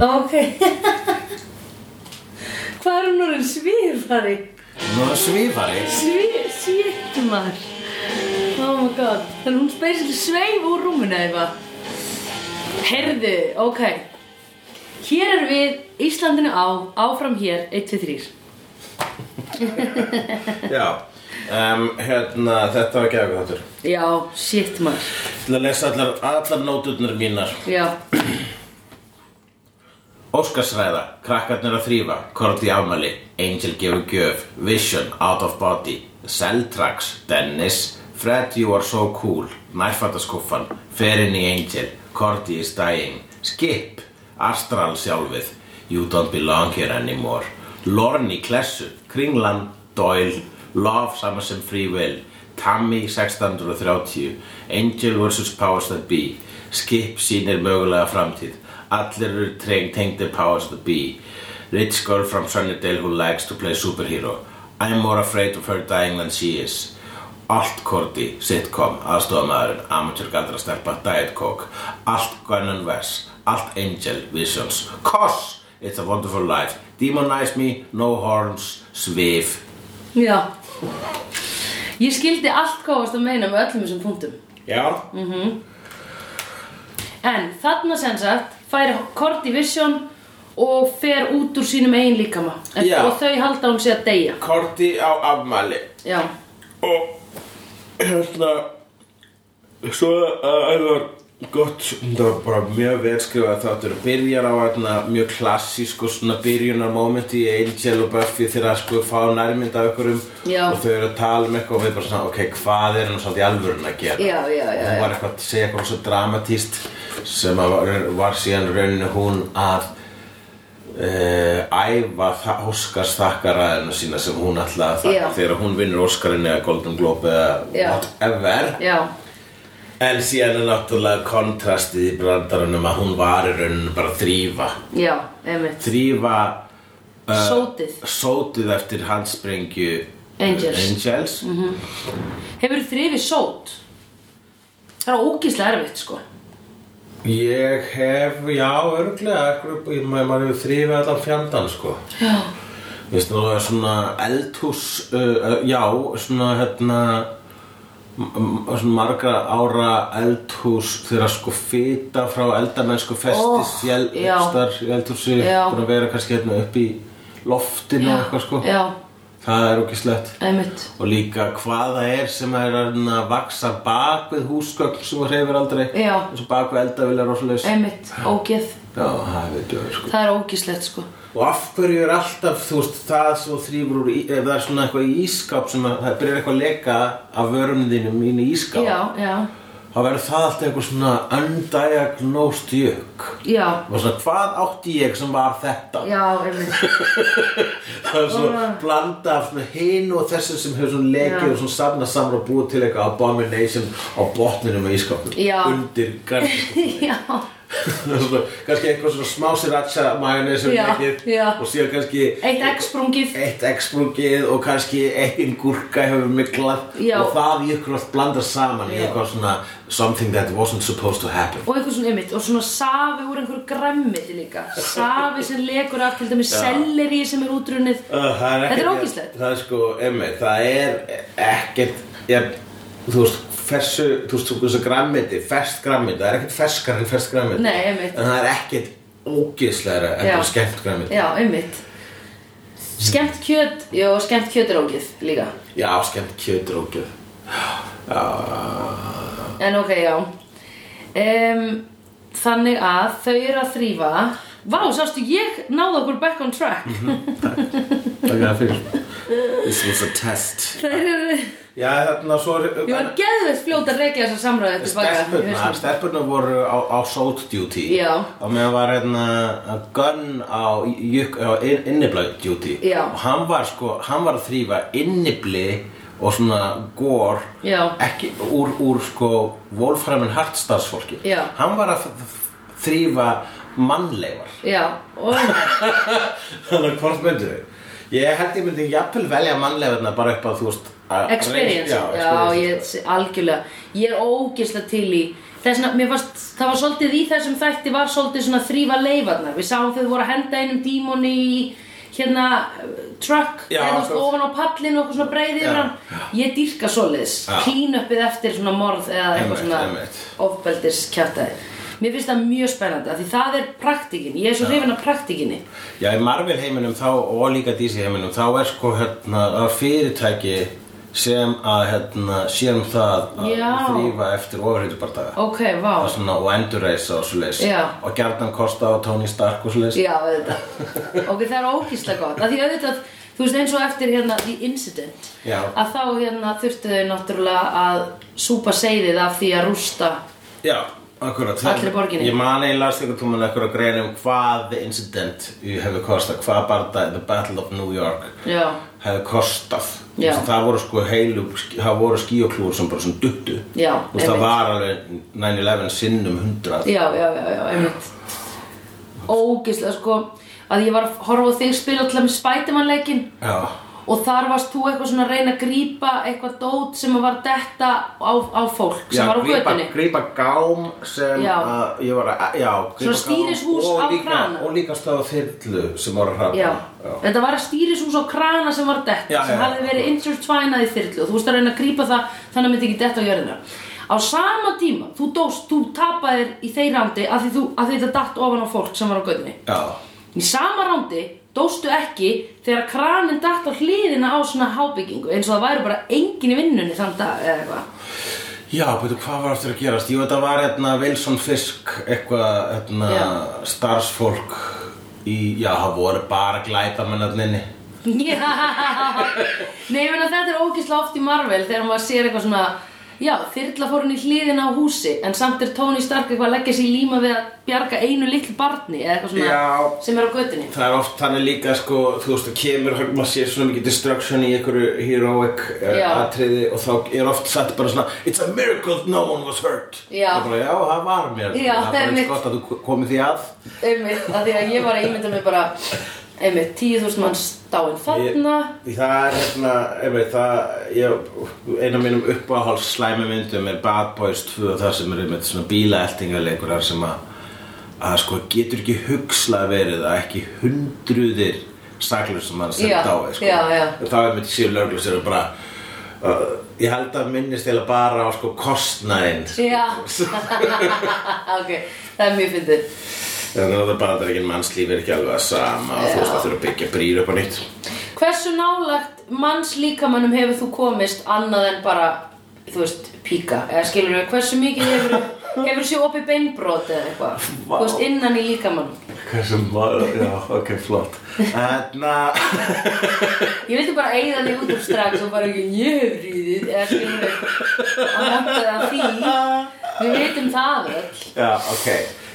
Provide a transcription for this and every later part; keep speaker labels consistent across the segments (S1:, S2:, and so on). S1: Ok. Hvað er hún orðin svífari?
S2: Nú er það svífari.
S1: Sví... Svífmar. Oh my god. Þannig hún spesill sveif úr rúminu eða eitthvað. Herðu, ok. Hér er við Íslandinu á, áfram hér, 1, 2, 3.
S2: Já. Um, hérna, þetta var geðagur þáttur.
S1: Já, shit maður.
S2: Til að lesa allar, allar nóturnar mínar.
S1: Já,
S2: Óskarsræða, krakkarnir að þrýfa, Korti afmæli, Angel gefur gjöf, Vision, Out of Body, Seltrax, Dennis, Fred you are so cool, Nærfattaskúffan, Ferin í Angel, Korti is dying, Skip, Astral sjálfið, You don't belong here anymore, Lorne í klessu, Kringlan, Doyle, Love saman sem Free Will, Tammy 1630 Angel vs. Powers That Be Skip sýnir mögulega framtíð Allir eru treng tengdir Powers That Be Rich girl from Sunnydale who likes to play superhero I'm more afraid of her dying than she is Allt Korti, sitcom, aðstofamæðurinn, amateur galdra stelpa, diet coke Allt Gunn and Wes, allt Angel, Visions Cos, It's a Wonderful Life Demonize Me, No Horns, Svif
S1: já. Ég skildi allt hvað varst að meina með öllum þessum punktum.
S2: Já,
S1: En þarna sem sagt fær Korti Vision og fer út úr sínum eigin líkama. En-
S2: Já.
S1: Og þau halda hún sé að deyja.
S2: Korti á afmæli
S1: Já,
S2: og hérna svo uh, er það gott það var bara mjög velskrifað þáttur byrjar á hérna mjög klassísku svona byrjunar momenti í Angel og Buffy þegar að sko fá nærmynd af ykkurum
S1: Já.
S2: og þau eru að tala um eitthvað og við bara svona ok, hvað er hann svolítið í alvörun að gera
S1: Já, já, já,
S2: hún
S1: já.
S2: var eitthvað að segja eitthvað svo dramatíst sem að var, var síðan rauninu hún að uh, æfa þa- Óskars þakkaraðina sína sem hún alltaf
S1: Já.
S2: þakka þegar hún vinnur Óskarinn eða Golden Globe eða
S1: Já.
S2: whatever
S1: já,
S2: en síðan er náttúrulega kontrastið í brandarunum að hún var í rauninu bara að þrýfa
S1: já, einmitt.
S2: þrýfa Eh.
S1: Sótið.
S2: sótið eftir handsprengju
S1: Angels. Mhm.
S2: Angels.
S1: Hefur þrifið sót? Það er ógíslega erfitt, sko.
S2: Ég hef, já, örglega, maður maður hefur þrýfið allan fjandann, sko.
S1: Já.
S2: Ég veist það er svona eldhús, uh, uh, já, svona, hérna, m- m- svona margra ára eldhús þegar sko fita frá eldamennsku
S1: Oh,
S2: festist í el-
S1: já.
S2: þar í eldhúsi,
S1: Já.
S2: búin að vera kannski hérna upp í loftinu og eitthvað, sko.
S1: Já,
S2: Það er okkur slett.
S1: einmitt.
S2: Og líka hvað það er sem er hérna að vaksa bak við húsgögn sem þú hreyfir aldrei.
S1: Já.
S2: Eins og bak við eldavilar og svoleiðis.
S1: Einmitt, ógeð.
S2: Já, það er döður sko
S1: Það er ógíslegt, sko.
S2: Og af hverju er alltaf, þú veist, það svo þrýfur úr, í- ef það er svona eitthvað í ískáp sem að, það byrjar eitthvað að leka af vörum þínum inn í ískáp
S1: Já, já,
S2: Þá verður það alltaf eitthvað svona undiagnosed jök
S1: já.
S2: Og svona, hvað átti ég sem var þetta?
S1: Já, einmitt.
S2: Það er svona blanda af svona hinu og þessu sem hefur svona lekið
S1: Já.
S2: og svona safna saman og búið til eitthvað abomination á botninum á ískápnum
S1: Já.
S2: Undir grænum
S1: já,
S2: Svona, kannski eitthvað svona smá sriracha majónis
S1: Já, já.
S2: og síðan kannski
S1: eitt eggsprungið.
S2: eitt eggsprungið og kannski ein gúrka hefur miklað
S1: Já.
S2: og það í ykkur allt blandað saman í
S1: Já.
S2: eitthvað svona something that wasn't supposed to happen
S1: og eitthvað svona ymmit og svona safi úr einhverju græmmiti líka safi sem lekur af til dæmis selleri sem er útrunnið
S2: Uh, það er
S1: Þetta er
S2: ekkert-
S1: ógeðslegt.
S2: Það er sko, emmi, það er ekkert ég, Þú veist, fessu, þú veist, þú veist, grammiti, fest grammiti Það er ekkert ferskar en fest grammiti
S1: Nei, einmitt.
S2: En það er ekkert ógeðslegra en
S1: Já.
S2: bara skemmt grammiti
S1: já, ymmit skemmt kjöt, já, skemmt kjöt er ógið líka
S2: Já, skemmt kjötur og gjöð
S1: en ok, já um, þannig að þau eru að þrýfa vá, sástu, ég náði okkur back on track
S2: Takk fyrir það fyrir This was a test
S1: þau eru,
S2: Já, þarna svo
S1: ég var geðveitt fljóta að regla þessa samræði
S2: Stelpurnar,
S1: tilbaka
S2: stelpurnar voru á, á salt duty
S1: Já.
S2: Og meðan var hérna Gunn á, juk- á in- innibla duty
S1: Já.
S2: Og hann var sko, hann var að þrýfa innibli og svona gór
S1: Já.
S2: Ekki úr, úr sko Wolfram and Hart starfsfólki
S1: Já.
S2: Hann var að þ- þrýfa mannleifar
S1: já, og
S2: Þannig að hvort myndu þau? Ég held ég myndi jafnvel velja mannleifarna bara upp á þú veist að-
S1: Experience,
S2: Já,
S1: já,
S2: experience. sko.
S1: ég, algjörlega Ég er ógislega til í Þess vegna, mér fannst, það var svolítið í þessum þætti var svolítið svona þrýfa leifarnar. Við sáum þau voru að henda einum dímoni í hérna uh, truck
S2: Já,
S1: eða þú veist
S2: akkurat.
S1: ofan á pallin og eitthvað svona breiði
S2: Já,
S1: yfir hann. Ég dýrka svoleiðis,
S2: Já.
S1: clean upið eftir svona morð eða eitthvað
S2: Einmitt,
S1: svona
S2: einmitt.
S1: ofbeldis kjátaði. Mér finnst það mjög spennandi af því það er praktikin, ég er svo hrifin af praktikinni.
S2: Já, í Marvel heiminum þá og líka DC heiminum þá er sko hérna að fyrirtæki sem að hérna séum það að
S1: Já.
S2: þrýfa eftir ofurhýtubardaga
S1: Ok, vá.
S2: og svona og endurreisa og svo leis
S1: Já.
S2: og gjarnan kosta á Tony Stark og svo leis
S1: Já, auðvitað. Ok, það er ógíslega gott. Af því auðvitað, þú veist eins og eftir hérna The Incident,
S2: Já.
S1: að þá hérna þurftu þau náttúrulega að súpa seiðið af því að rústa.
S2: Já, akkurat
S1: Allir í borginni.
S2: Ég man eiginlega last ykkur tóman ekkur að greina um hvað the incident hefur kostað hvað bardaði, the battle of New York
S1: Já,
S2: hefði kostað Þú
S1: Já.
S2: veist, það voru sko heilu það voru skíoklúður sem bara sem duttu
S1: Já,
S2: Þú veist, það
S1: einmitt.
S2: var alveg 9-11 sinnum 100
S1: já, já, já, já, einmitt. Ógíslega, sko, að ég var að horfa á þig spila alltaf með Spiderman-leikin
S2: Já,
S1: og þar varst þú eitthvað svona að reyna að grípa eitthvað dót sem var detta á, á fólk sem
S2: Já,
S1: var á
S2: grípa,
S1: götunni.
S2: grípa gám sem
S1: Já.
S2: að ég var að e, já, grípa
S1: Svona stýrishús
S2: gám og
S1: á
S2: líka,
S1: krana.
S2: og líka staða þyrlu sem voru að hraða
S1: Já. þetta var að stýrishús á krana sem var dett
S2: Já,
S1: sem
S2: já,
S1: hafði
S2: já.
S1: verið intertwinað í þyrlu og þú veist að reyna að grípa það þannig að myndi ekki dett á jörðina á sama tíma, þú dóst, þú tapaðir í þeir rándi af því, þú, af því þetta datt ofan á fólk sem var á göðinni
S2: já,
S1: í sama rándi dóstu ekki þegar kranin datt á hliðina á svona hábyggingu eins og það væri bara engin í vinnunni þann dag eða eitthvað
S2: já betur hvað var aftur að gerast Jú, þetta var hérna Wilson Fisk eitthvað hérna
S1: Já.
S2: starfsfólk í, já, það voru bara glæpamennarninni
S1: Já. Nei, ég meina þetta er ógislega oft í Marvel þegar maður sér eitthvað svona Já, þyrla fór hún í hliðina á húsi en samt er Tony Stark eitthvað að leggja sig í líma við að bjarga einu litlu barni eða eitthvað svona
S2: Já.
S1: sem er á götunni
S2: Það er oft þannig líka sko, þú veist, það kemur, maður sér svona mikið destruction í einhverju heroic uh,
S1: Já.
S2: atriði og þá er oft satt bara svona It's a miracle no one was hurt
S1: Já.
S2: Það er bara, já, það var
S1: Já,
S2: mér Það er bara
S1: einmitt.
S2: eins gott að þú komið því að
S1: Einmitt, af því að ég var að ímynda mig bara einmitt, 10.000 manns dáin þarna
S2: Ég- Það er hérna, einmitt, það, ég, eina mínum uppáhalds slæmi myndum er Bad Boys 2 það sem er einmitt svona bílaeltingarleikur þar sem að, að sko getur ekki hugsla verið að ekki hundruðir saklausum mann sem
S1: Já,
S2: dái sko.
S1: já, já.
S2: En þá er mitt síður lögreglur sem eru bara uh, ég held að minnist eða bara á sko kostnæðin
S1: Já Ok, það er mjög fyndið
S2: þannig að það er bara að það er ekki mannslíf er ekki alveg að sama og þú veist það þurfa að byggja brýr upp á nýtt
S1: Hversu nálagt manns líkamannum hefur þú komist annað en bara, þú veist, píka? Eða skilur við, hversu mikið hefur, hefur séu opið beinbrot eða eitthvað?
S2: Vá.
S1: Þú veist, innan í líkamannum.
S2: Hversu maður, já, ok, flott Þannig
S1: Ég vildi bara eigða þig út úr strax og bara ekki, ég hef ríðið, eða skilur við, að monta það því. Við vitum það öll.
S2: Já, ok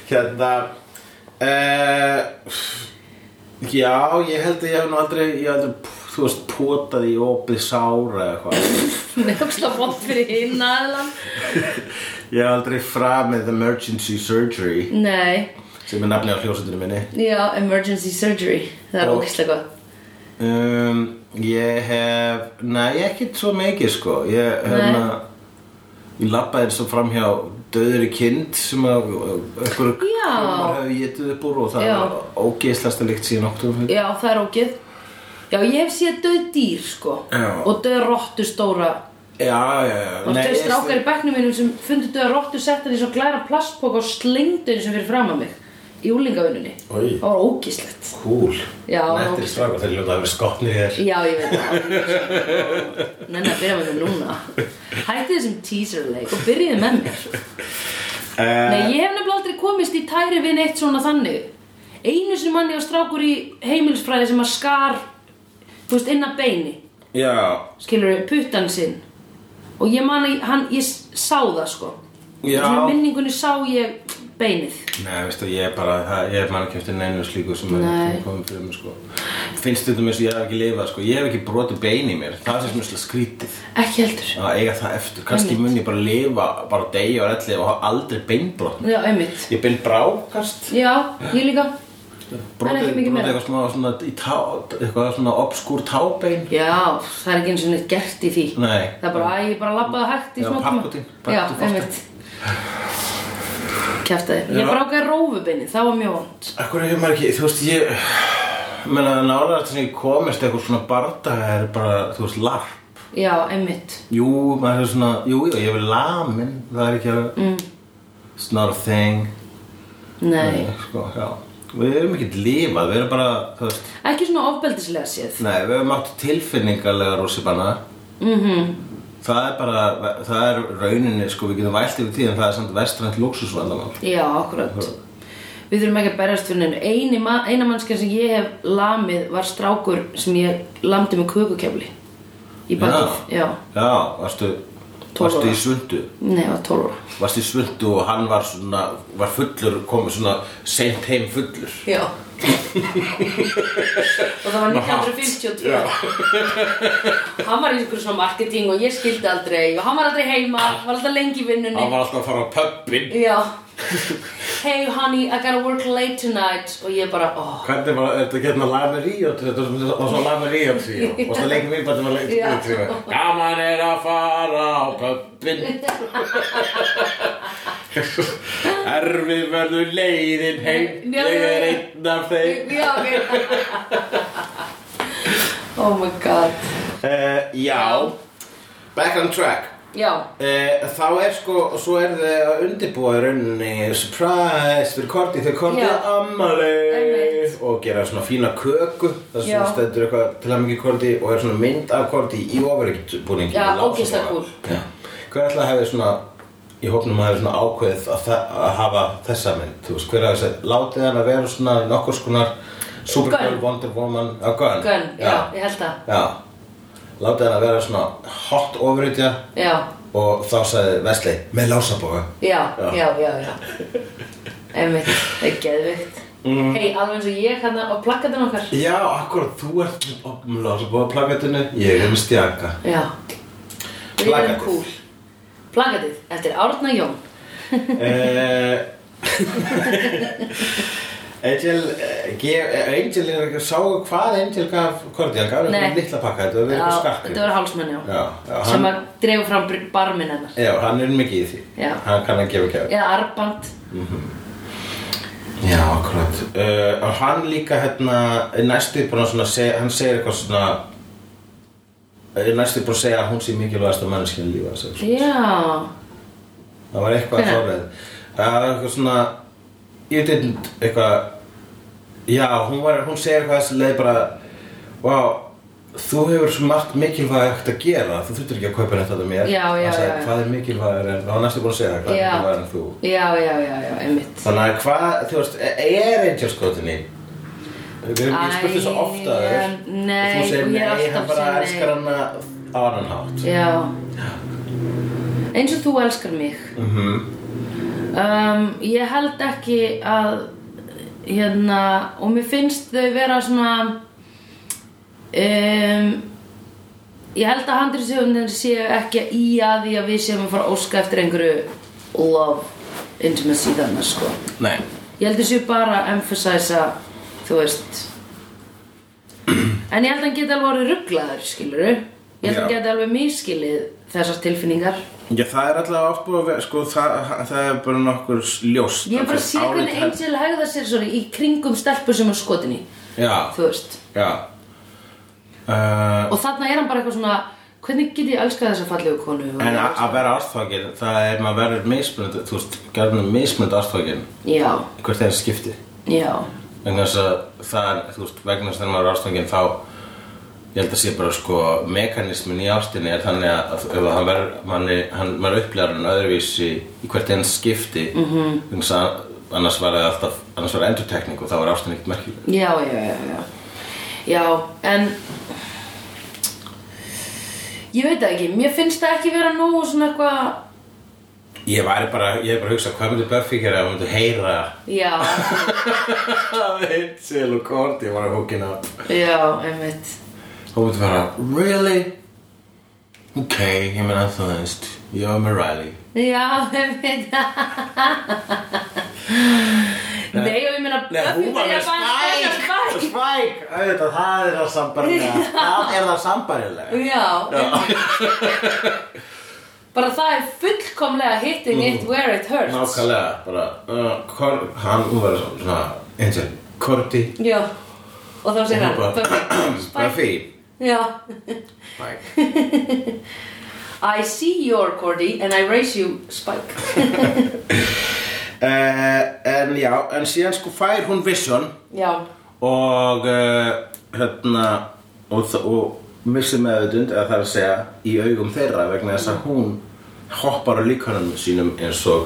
S2: Hérna uh, Já, ég held að ég hef nú aldrei Ég hef aldrei, þú veist, potað í opið sára eða eitthvað
S1: Nefnsla bótt fyrir hinn aðlan.
S2: Ég hef aldrei framið emergency surgery
S1: Nei,
S2: sem er nafni á hljósundinu minni
S1: já, emergency surgery. Það er
S2: Og-
S1: ógæslega gott.
S2: um, Ég hef, nei, ekkert svo mikið sko Ég hef
S1: Nei.
S2: Ég labbaði eins og framhjá döðri kind sem að einhverju
S1: Já.
S2: kramar hefur getið upp úr og það
S1: Já.
S2: er ógeðslasta líkt síðan okkur
S1: Já, það er ógið Já, ég hef séð döð dýr, sko
S2: Já.
S1: Og döð róttu stóra
S2: Já, já, já
S1: Og
S2: Nei,
S1: döð
S2: ég-
S1: strákar í bekknum mínum sem fundu döð róttu Settan í svo glæra plastpoka og slengdu eins og fyrir fram að mig Í úlingavinnunni
S2: Oj.
S1: Það var ógislegt
S2: Cool
S1: Já,
S2: Nettir
S1: ok.
S2: strákar, þeir ljóta að vera skotnir þér
S1: Já, ég veit það Nenna að byrja með mér núna Hætti þessum teaser leik og byrjiði með mér
S2: uh,
S1: Nei, ég hef nefnilega aldrei komist í tæri við neitt svona þannig Einu sinni manni og strákur í heimilsfræði sem að skar Þú veist, inn að beini
S2: Já,
S1: skilur við, puttan sinn og ég man að hann, ég sá það sko
S2: Já.
S1: og svona minningunni sá ég beinið
S2: nei, veistu, ég er bara það, Ég er mann ekki eftir neinu slíku sem er
S1: Nei.
S2: sem er komið fyrir mig, sko Finnst þetta mér sem ég hef ekki lifað, sko Ég hef ekki brotið bein í mér Það er sem mjög skrítið
S1: ekki heldur
S2: Að eiga það eftir Kannski
S1: Einmitt.
S2: mun ég bara lifa, bara deyja og elli og hafa aldrei beinbrotn
S1: já, einmitt
S2: Ég bein brákast
S1: já, ég líka En
S2: Brotið
S1: ekki mikið
S2: brotið
S1: meira.
S2: eitthvað smá svona í tá Eitthvað svona obskúr tábein
S1: já, það er ekki eins og neitt gert í því
S2: Nei.
S1: það er bara, æ, ég bara labbaði hægt í
S2: Já,
S1: smá tíma.
S2: pakkutin,
S1: já,
S2: pakkutin fótinn.
S1: einmitt kjæftaði. Ég
S2: Já.
S1: brákaði rófubinni, það var mjög vond.
S2: Akkur hefur maður ekki, þú veist, ég menna að nálega sem ég komist eitthvað svona bardaga er bara, þú veist, larp
S1: Já, einmitt.
S2: Jú, maður hefur svona, jú, jú, ég hefur lamin það er ekki að mm. it's not a thing
S1: Nei.
S2: sko, já. við erum ekki lífað, við erum bara þú veist,
S1: Ekki svona ofbeldislega séð.
S2: nei, við erum átt tilfinningarlega rússipanna
S1: Mm-hmm.
S2: -hmm. það er bara, það er rauninni sko, við getum vælt yfir því en það er samt vestrænt lúksusvandamál
S1: Já, akkurat. Við þurfum ekki að berjast fyrir neinu. Eini, ma- eina mannskja sem ég hef lamið var strákur sem ég lamdi með kökukefli. Í bakið. Já.
S2: já, varstu,
S1: Tólf
S2: varstu
S1: ára.
S2: í svundu
S1: Nei, það var 12 ára.
S2: varst í svundu og hann var svona var fullur, komið svona seint heim fullur
S1: Já. og það var 1952. hann var í einhverjum svona marketing og ég skildi aldrei og hann var aldrei heima, var alltaf lengi í vinnunni.
S2: Ah. hann var alltaf að fara á pöppin
S1: Já. hey honey, I gotta work late tonight og ég bara, oh.
S2: hvernig var þetta hérna, getna lameríot þetta var svona- var svo lameríot tríó og það lengi mér bara þetta var
S1: Já.
S2: lengi tríó gaman er að fara á pöppin erfið verður leiðin heim
S1: Já,
S2: ég
S1: já,
S2: er
S1: já.
S2: einn af þeim
S1: Já, ok. oh my god.
S2: uh, já back on track
S1: Já,
S2: Eh, þá er sko, og svo er þið að undirbúa í rauninni surprise fyrir Korti þegar Korti
S1: Já.
S2: er ammali
S1: Einmitt.
S2: og gera svona fína köku það sem
S1: Já.
S2: stendur eitthvað til að mikið Korti og er svona mynd af Korti í ofuríkjubúningi
S1: Já, ógeðslega kúl.
S2: Hver ætla að hefði svona í hópnum að hefði svona ákveðið að, þa- að hafa þessa mynd þú veist, hver að þessi, látið hann að vera svona nokkur skonar Supergirl,
S1: Gunn.
S2: Wonder Woman, að Gunn
S1: Gunn, já, ég held það.
S2: Já, látið hann að vera svona hot ofuríkja
S1: Já,
S2: og þá sagði Vesli með lásaboga
S1: já,
S2: Já.
S1: já, já, já. Einmitt, það er geðvikt.
S2: Mhm.
S1: Mm. Hei, alveg eins og ég hann á plakkatin okkar.
S2: já, akkurat, þú ert með lásaboga plakatinu ég er með stjaka
S1: Já. Við erum
S2: Plakatið.
S1: cool. Plakatið, eftir Árna Jón.
S2: Eh, Angel eh, gef- eh, Angel er ekki sáu hvað Angel gaf Korti, hann gaf
S1: Nei.
S2: eitthvað litla pakka þetta var verið eitthvað skarkir
S1: þetta var hálsmenn, já.
S2: Já, já,
S1: Sem
S2: hann-
S1: að dreifur fram br- barminn hennar.
S2: já, hann er mikið í því
S1: Já.
S2: hann kann að gefa kæfi
S1: Eða arband.
S2: já, akkurat uh, og hann líka hérna er næstu búin að svona seg, hann segir eitthvað svona er næstu búin að segja að hún sé mikilvægast á mannskinu lífa þess að
S1: Já,
S2: Það var eitthvað
S1: Hvenær?
S2: þorrið Það var eitthvað svona Ég didn't eitthvað Já, hún, var, hún segir eitthvað þessi leið bara Wow, þú hefur svo margt mikilvægt að gera Þú þurftur ekki að kaupa neitt þetta mér
S1: Já, já,
S2: sagði,
S1: já, já.
S2: Hvað er mikilvægur en Það var næstu búin að segja það, hvað er
S1: Já.
S2: mikilvægur en þú
S1: já, já, já, já, einmitt.
S2: Þannig að hvað, þú veist, e-, er Angel skotinni? Við erum ekki spurt þessu ofta
S1: Æ,
S2: þér
S1: nei,
S2: Þú segir
S1: og ég er
S2: nei,
S1: alltaf
S2: hann bara
S1: að segja
S2: elskar hana á annan hátt
S1: Já Eins og þú elskar mig um, Ég held ekki að hérna, og mér finnst þau vera svona um, ég held að handri sjóðunir séu ekki að í að því að við séum að fara að óska eftir einhverju love intimacy þannig sko
S2: Nei
S1: Ég held að séu bara að emphasize þú veist En ég held að hann geti alveg orðið rugglaður, skilurðu Ég held að hann
S2: Já.
S1: geti alveg miskilið þessar tilfinningar
S2: Já, það er allavega oft búið að vera, sko, það, það er bara nokkur ljóst.
S1: Ég er bara að sé
S2: Álit
S1: hvernig
S2: henn-
S1: Angel hegða sér sorry, í kringum stelpur sem er skotin í
S2: Já,
S1: Þú veist
S2: já. Uh,
S1: Og þarna er hann bara eitthvað svona Hvernig get ég elskað þessa fallegu konu og-
S2: en að að vera ástfangin, það er, maður verður mismunandi, þú veist, gerðum mismunandi ástfangin,
S1: Já,
S2: hvert þeirra skipti.
S1: já,
S2: Vegna þess að það er, þú veist, vegna þess að þegar maður er ástfangin þá, ég held að sé bara, sko, mekanismin í ástinni er þannig að ef að hann verður, manni, hann, maður upplýðar hann öðruvísi í hvert þeirra skipti, mm -hmm. vegna þess að annars var það alltaf, annars var endurtekning og þá var ástinni ekkert merkileg.
S1: já, já, já, já Já, en Ég veit það ekki, mér finnst það ekki vera nógu svona eitthvað
S2: Ég væri bara, ég er bara að hugsa hvað myndi Buffy gera ef hún myndi heyra
S1: Já,
S2: Hitsil og Kort, ég var að húkin að
S1: Já, einmitt
S2: Hún myndi fara, really? Ok, ég meina þú veist, ég var með Riley
S1: Já, einmitt Nei, og ég meina Buffy byrjar bara að spæja Spike.
S2: Spike, auðvitað, það er það sambarilega Það er það sambarilega
S1: Já, einmitt Bara það er fullkomlega hitting it where it hurts.
S2: Nákvæmlega, bara uh, Cor, Hann, hún var svona Angel, Cordy
S1: Já. Og þá segir hann,
S2: Bara-
S1: Buffy.
S2: Buffy
S1: Já.
S2: Spike
S1: I see your Cordy and I raise you Spike.
S2: uh, En já, en síðan sko fær hún Vision
S1: Já.
S2: Og uh, hérna Og, þ- og missir meðutund Eða það er að segja í augum þeirra Vegna þess að hún hoppar á líkanum sínum eins og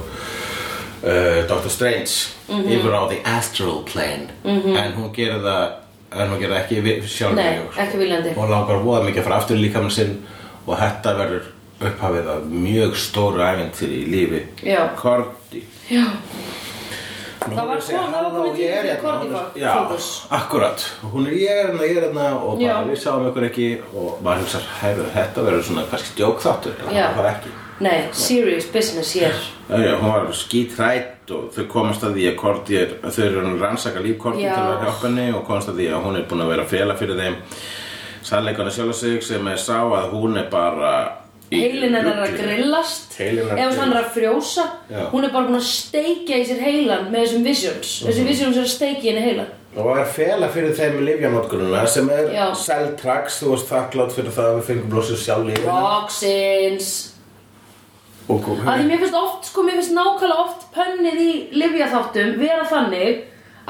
S2: uh, Dr. Strange
S1: Mhm.
S2: Yfir á the astral plane En hún gerir það En hún gerir það ekki við- sjálf
S1: Nei, ekki viljandi.
S2: og sko. langar voða mikið að fara aftur í líkamann sinn og þetta verður upphafið af mjög stóru æventyri í lífi
S1: Já.
S2: Korti
S1: Já.
S2: Nú
S1: Það var
S2: er að segja,
S1: kom- það var
S2: "Halló,
S1: komið
S2: ég er
S1: tími fyrir
S2: hérna." Hún er-
S1: Korti
S2: Já,
S1: fókus.
S2: akkurat Hún er ég er hérna, ég er hérna og bara
S1: Já.
S2: við sjáum ykkur ekki og maður hugsar, herru, þetta verður svona kannski djókþáttur en
S1: Já.
S2: það var ekki
S1: Nei, serious business hér.
S2: Já, hún var skítrætt og þau komast að því að Korti er, þau eru að rannsaka líf Korti
S1: Já.
S2: til að hjálpa henni og komast að því að hún er búin að vera að fela fyrir þeim sannleikana sjálf sig sem er sá að hún er bara í
S1: Heilin hennar er að
S2: rugli.
S1: grillast.
S2: Heilinn er að
S1: Ef hann er að frjósa.
S2: Já.
S1: Hún er bara búin að steikja í sér heilan með þessum visions.
S2: Mhm.
S1: Þessum visions er að steikja í henni heilan.
S2: og er fela fyrir þeim í lifjanótkununa sem er
S1: Já.
S2: seltrax, þú varst þakklátt fyrir það að við fengum blósið sjálf lífinu
S1: Roxins.
S2: og kom
S1: Af því mér finnst oft, sko, mér finnst nákvæmlega oft pönnið í livjaþáttum vera þannig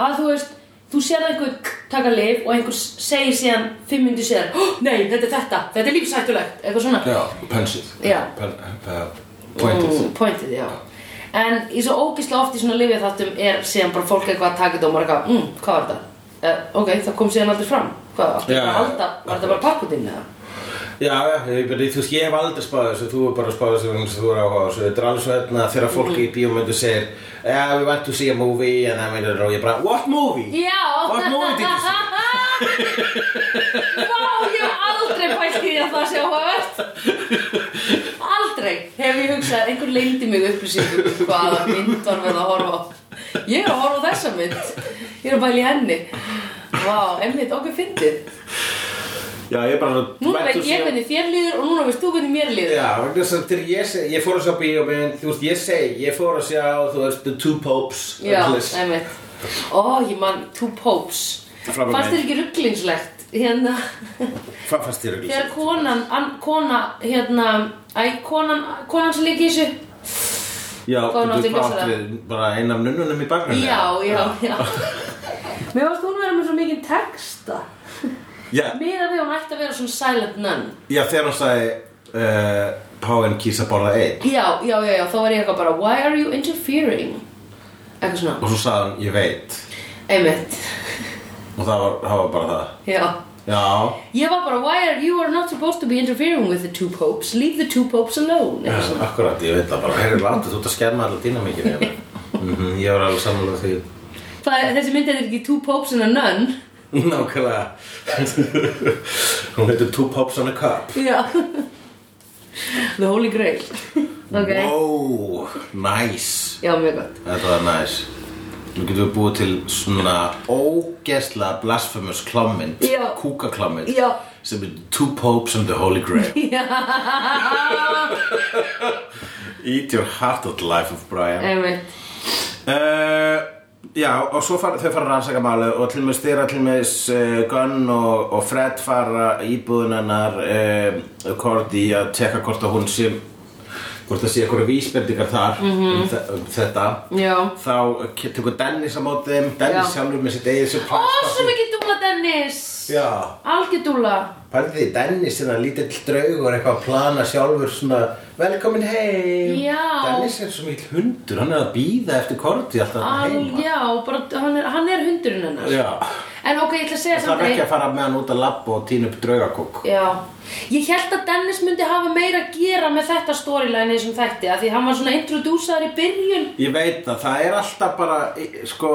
S1: að þú veist, þú sér einhver taka liv og einhver segir síðan fimm myndi síðan, oh, nei, þetta er þetta, þetta er lífshættulegt, eitthvað svona.
S2: já, pensið
S1: Já.
S2: Pen, pen, pointið
S1: Mm, pointið, já. En í svo ógislega oft í svona livjaþáttum er síðan bara fólk eitthvað að taka þetta og maður eitthvað, mm, hvað var þetta? Uh, ok, það kom síðan aldrei fram. Hvað, áttu
S2: Já,
S1: þetta að
S2: já,
S1: halda? Var þetta bara pakkutinn eða?
S2: já, ég, bara, þú veist, ég hef aldrei spáð þessu þú er bara spáð þessu vegna sem þú er áhuga á þessu þetta er alveg svo hérna þegar fólk
S1: Mm.
S2: í bíómyndu segir já, við went to see a movie and I made it og ég bara, what movie?
S1: Já!
S2: What movie did you see?
S1: Vá, ég hef aldrei pælt í því að það sé áhugavert Aldrei hef ég hugsað að einhver leyndi mig upplýsingum um hvaða mynd var verið að horfa á Ég er að horfa á þessa mynd Ég er að bæla í henni Vá, einmitt, okkur fyndið
S2: já, ég bara
S1: Núna
S2: went to
S1: veit
S2: see
S1: ég
S2: a-
S1: hvernig þér líður og núna veist þú hvernig mér líður
S2: Já, vegna þess að þegar ég segi, ég fór að sjá bíómynd, þú veist, ég segi, ég fór að sjá, þú veist, The Two Popes,
S1: Já,
S2: öll þess.
S1: einmitt Ó, ég man, Two Popes
S2: Frábær
S1: Fannst
S2: mynd.
S1: þér ekki ruglingslegt hérna
S2: Hvað fannst þér ekki?
S1: Þegar konan, an, kona, hérna, æ, konan, konan sem líka í þessu
S2: Já,
S1: Hvað hún átti
S2: þú veist hvað
S1: ljósara?
S2: áttu bara eina af nunnunum í bakgrunni?
S1: Já, já, já Mér varst hún vera með svo mikið texta
S2: Já,
S1: Mér að við hún ætti að vera svona silent nun
S2: já þegar hún sagði uh, Páinn kýsa borða einn
S1: Já, já, já, já, þá var ég eitthvað bara Why are you interfering? Eitthvað svona,
S2: og svo sagði hann, ég veit
S1: einmitt
S2: og það var, það var bara það
S1: Já
S2: Já,
S1: Ég var bara, why are you are not supposed to be interfering with the two popes Leave the two popes alone Eitthvað svona
S2: akkurat, ég veit það bara Herri látið, þú ert að skemma allir dýna mikið mm -hmm, Ég var alveg samanlega því
S1: Það, er- Þessi mynd er ekki two popes and a nun
S2: Nákvæmlega Hún heitir Two Pops on a Cup
S1: Já The holy grail Ok
S2: Wow, nice
S1: Já, mjög gott
S2: Þetta var næs Nú getum við búið til svona ógesla blasphemous klámynd
S1: Já.
S2: Kúkaklámynd
S1: Já.
S2: Sem er Two Popes and the Holy Grail Eat your heart out life of Brian
S1: Einmitt
S2: uh, Já, og svo far, þau fara að rannsaka máli og til og með styrra til og með uh, Gunn og, og Fred fara íbúðunarnar uh, Korti að tekka hvort að hún sé hvort það sé eitthvað vísbendingar þar um, þe- um þetta
S1: Mhm. Já
S2: þá tekur Dennis á móti þeim Dennis
S1: Já.
S2: sjálfur með sitt eigið
S1: Ó,
S2: surprise
S1: svo
S2: party.
S1: mikið dúla Dennis
S2: Já.
S1: Algjör dúla
S2: Pældi því, Dennis er það lítill draugur eitthvað að plana sjálfur svona velkomin heim
S1: Já.
S2: Dennis er svo mikil hundur, hann er að býða eftir korti alltaf
S1: Al,
S2: hann heima
S1: Já, bara, hann er, hann er hundurinn hennar
S2: Já.
S1: En ok, ég ætla að segja
S2: Það
S1: samt
S2: er ekki að fara með hann út að labba og tína upp draugakók
S1: Já Ég held að Dennis myndi hafa meira að gera með þetta storyline sem þætti af Því hann var svona introducaður í byrjun
S2: Ég veit að það er alltaf bara, í- sko,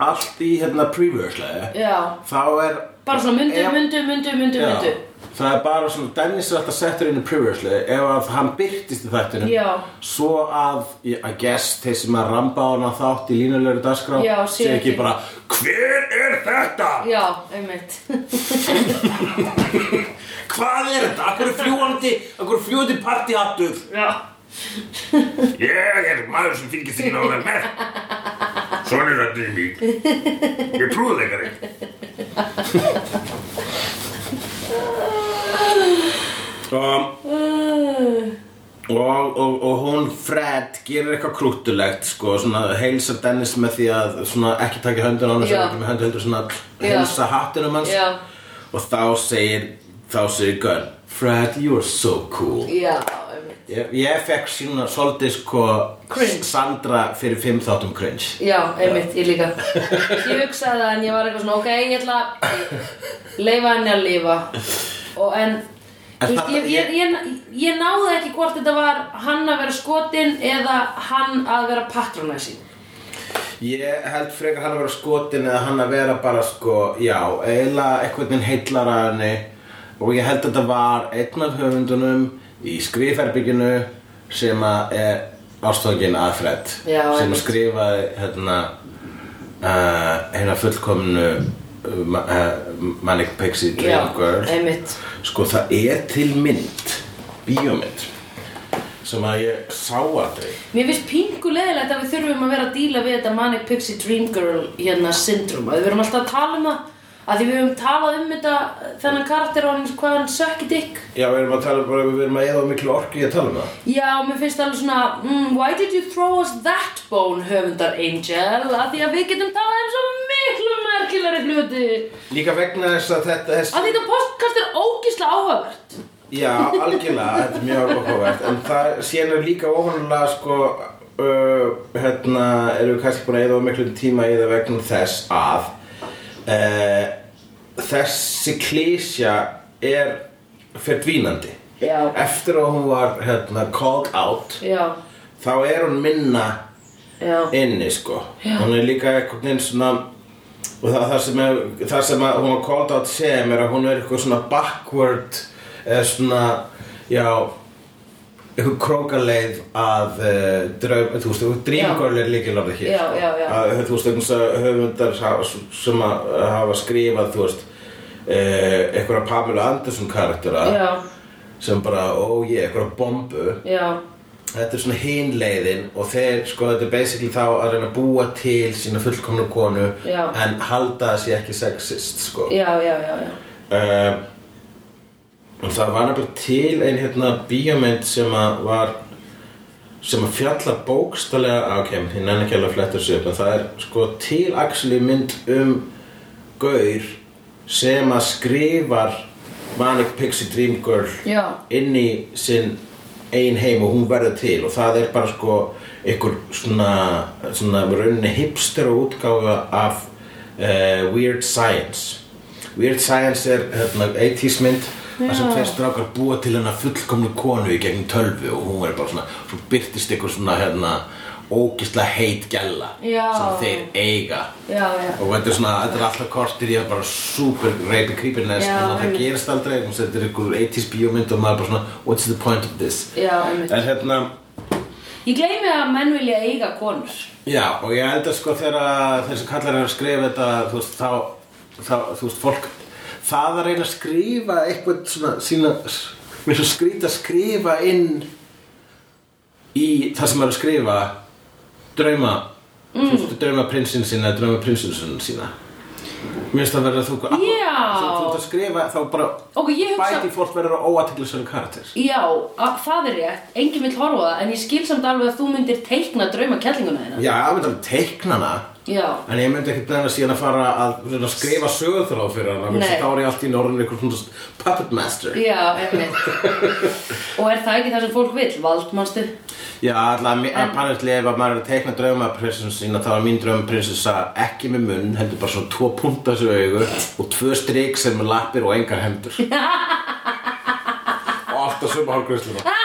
S2: allt í hérna previouslega
S1: Já
S2: Þá er
S1: Bara svona mundu,
S2: Ef-
S1: mundu, mundu, mundu,
S2: Já,
S1: mundu
S2: það er bara svona Dennis er alltaf settur inn í previously ef að hann byrtist í þættinum
S1: Já.
S2: svo að, I guess, þeir sem að ramba á hana þátt í línulegur dagskrá
S1: Já, sé
S2: sé
S1: ekki.
S2: ekki bara, hver er þetta?
S1: Já, einmitt
S2: Hvað er þetta? Akkur er fljúandi, akkur er fljúandi partihattur
S1: Já.
S2: Ég er maður sem fylgir þín á það með Svona er þetta mín Ég trúði þegar ekki um,
S1: Uh,
S2: og, og, og hún Fred gerir eitthvað krúttulegt sko, svona heilsa Dennis með því að svona ekki taka höndun á hann
S1: Já.
S2: ekki með höndun heldur svona
S1: Já.
S2: heilsa hattinum hans
S1: Já.
S2: og þá segir þá segir Gunn Fred, you're so cool
S1: já, einmitt.
S2: ég, ég fekk svona svolítið sko
S1: Cringe.
S2: Sandra fyrir fimm þáttum cringe
S1: já, einmitt, ég líka. Ég hugsaði það en ég var eitthvað svona, ok, ég ætla að leifa henni að lifa. Og en,
S2: En
S1: þú veist,
S2: þetta-
S1: ég, ég, ég, ég náði ekki hvort þetta var hann að vera skotin eða hann að vera patronæsi.
S2: ég held frekar hann að vera skotin eða hann að vera bara sko já, eiginlega eitthvað minn heillar að henni og ég held að þetta var einn af höfundunum í skrifherbygginu sem að er ástókin að Fred
S1: Já,
S2: sem
S1: einmitt.
S2: skrifaði hérna uh, hérna fullkomnu uh, ma- uh, Manic Pixie
S1: Já,
S2: Dream Girl
S1: einmitt.
S2: Sko það er til mynd Bíómynd Sem að ég sá aldrei
S1: Mér finnst pingu leðilegt að við þurfum að vera að díla við þetta Manic Pixie Dream Girl hérna syndrom að við verum alltaf að tala um það að því við höfum talað um þetta þennan karakter á hans hvað hann sökki dikk
S2: Já, við erum að tala um bara, við erum að eða miklu orku í að tala um það
S1: Já, mér finnst alveg svona mm, Why did you throw us that bone, höfundar Angel að því að við getum talað um svo miklu merkilari hluti að
S2: Líka vegna þess að þetta þess,
S1: því þetta podcast er ógísla áhugavert
S2: Já, algjörlega, þetta er mjög áhugavert En það síðan er líka óvanlega sko uh, Hérna, erum við kannski búin að eða miklu tíma í það vegna þess að uh, Þessi klísja er fyrir dvínandi
S1: Já.
S2: Eftir að hún var hérna, called out
S1: Já,
S2: þá er hún minna
S1: já,
S2: inni sko
S1: Já.
S2: hún er líka einhvern veginn svona og það, það, sem, er, það sem að hún var called out sem er að hún er eitthvað svona backward eða svona já eitthvað krókaleið að uh, draum, þú veist,
S1: Já.
S2: dreamgirl er líkilorðið hér
S1: Já,
S2: sko.
S1: já, já.
S2: Að, þú veist, einhvers að höfundar hafa- sem að hafa skrifað þú veist, uh, einhverja Pamela Anderson karaktera
S1: já,
S2: sem bara, ó ég, einhverja bombu
S1: já
S2: Þetta er svona hinleiðin og þeir, sko, þetta er basically þá að reyna að búa til sína fullkomna konu
S1: Já.
S2: en halda það sé ekki sexist, sko.
S1: Já, já, já, já
S2: Um, og það var nefnilega til ein hérna bíómynd sem að var sem að fjalla bókstallega á, ok, ég nenni ekki alveg að fletta þessu upp en það er sko til actually mynd um gaur sem að skrifar Manic Pixie Dream Girl
S1: Já,
S2: inn í sinn ein heim og hún verður til og það er bara sko einhver svona, svona rauninni hipster og útgáfa af uh, Weird Science Weird Science er hérna, 80s mynd þar sem
S1: Já.
S2: tveir strákar búa til hennar fullkomnu konu í gegnum tölvu og hún er bara svona svo byrtist einhver svona hérna ógisla heit gælla
S1: Já.
S2: sem þeir eiga
S1: já, já
S2: og þetta er svona, þetta er alltaf kortir ég er bara super reypi creepiness
S1: Já,
S2: þannig að það
S1: einmitt.
S2: gerist aldrei og þetta er einhver 80s bíómynd og maður er bara svona what's the point of this
S1: Já, einmitt
S2: en hérna,
S1: Ég gleymi að menn vilja eiga konur
S2: já og ég held að sko þegar þessi kallar er að skrifa þetta þú veist, þá, þá þú veist, fólk það að reyna að skrifa eitthvað svona sína, mér er svo skrýt að skrifa inn í það sem er að skrifa drauma mm. drauma prinsinn sína, drauma prinsinsun sína Mér finnst það verða þú
S1: Já.
S2: Þú þú ert að skrifa þá bara
S1: Ok, ég hugsa
S2: bæti fólk verður á óatillisverðu karakter
S1: Já, að, það er rétt, enginn vill horfa á það En ég skil samt alveg að þú myndir teikna drauma kellinguna þína
S2: Já, ég myndi alveg teikna hana
S1: Já,
S2: En ég myndi ekkert neina síðan að fara að svona, skrifa sögurþráð fyrir hana vegna þess
S1: Nei.
S2: að Þá er ég allt í norðin einhver svona puppet master
S1: já, einmitt Og er það ekki það sem fólk vill, valdmannstu?
S2: Já, alltaf apparently ef að maður er að teikna draumaprinsessun sína þá er mín draumaprinsessa ekki með munn heldur bara svona tvo punta þessu augu og tvö strik sem er lappir og engar hendur og alltaf sömu hálfgrusluna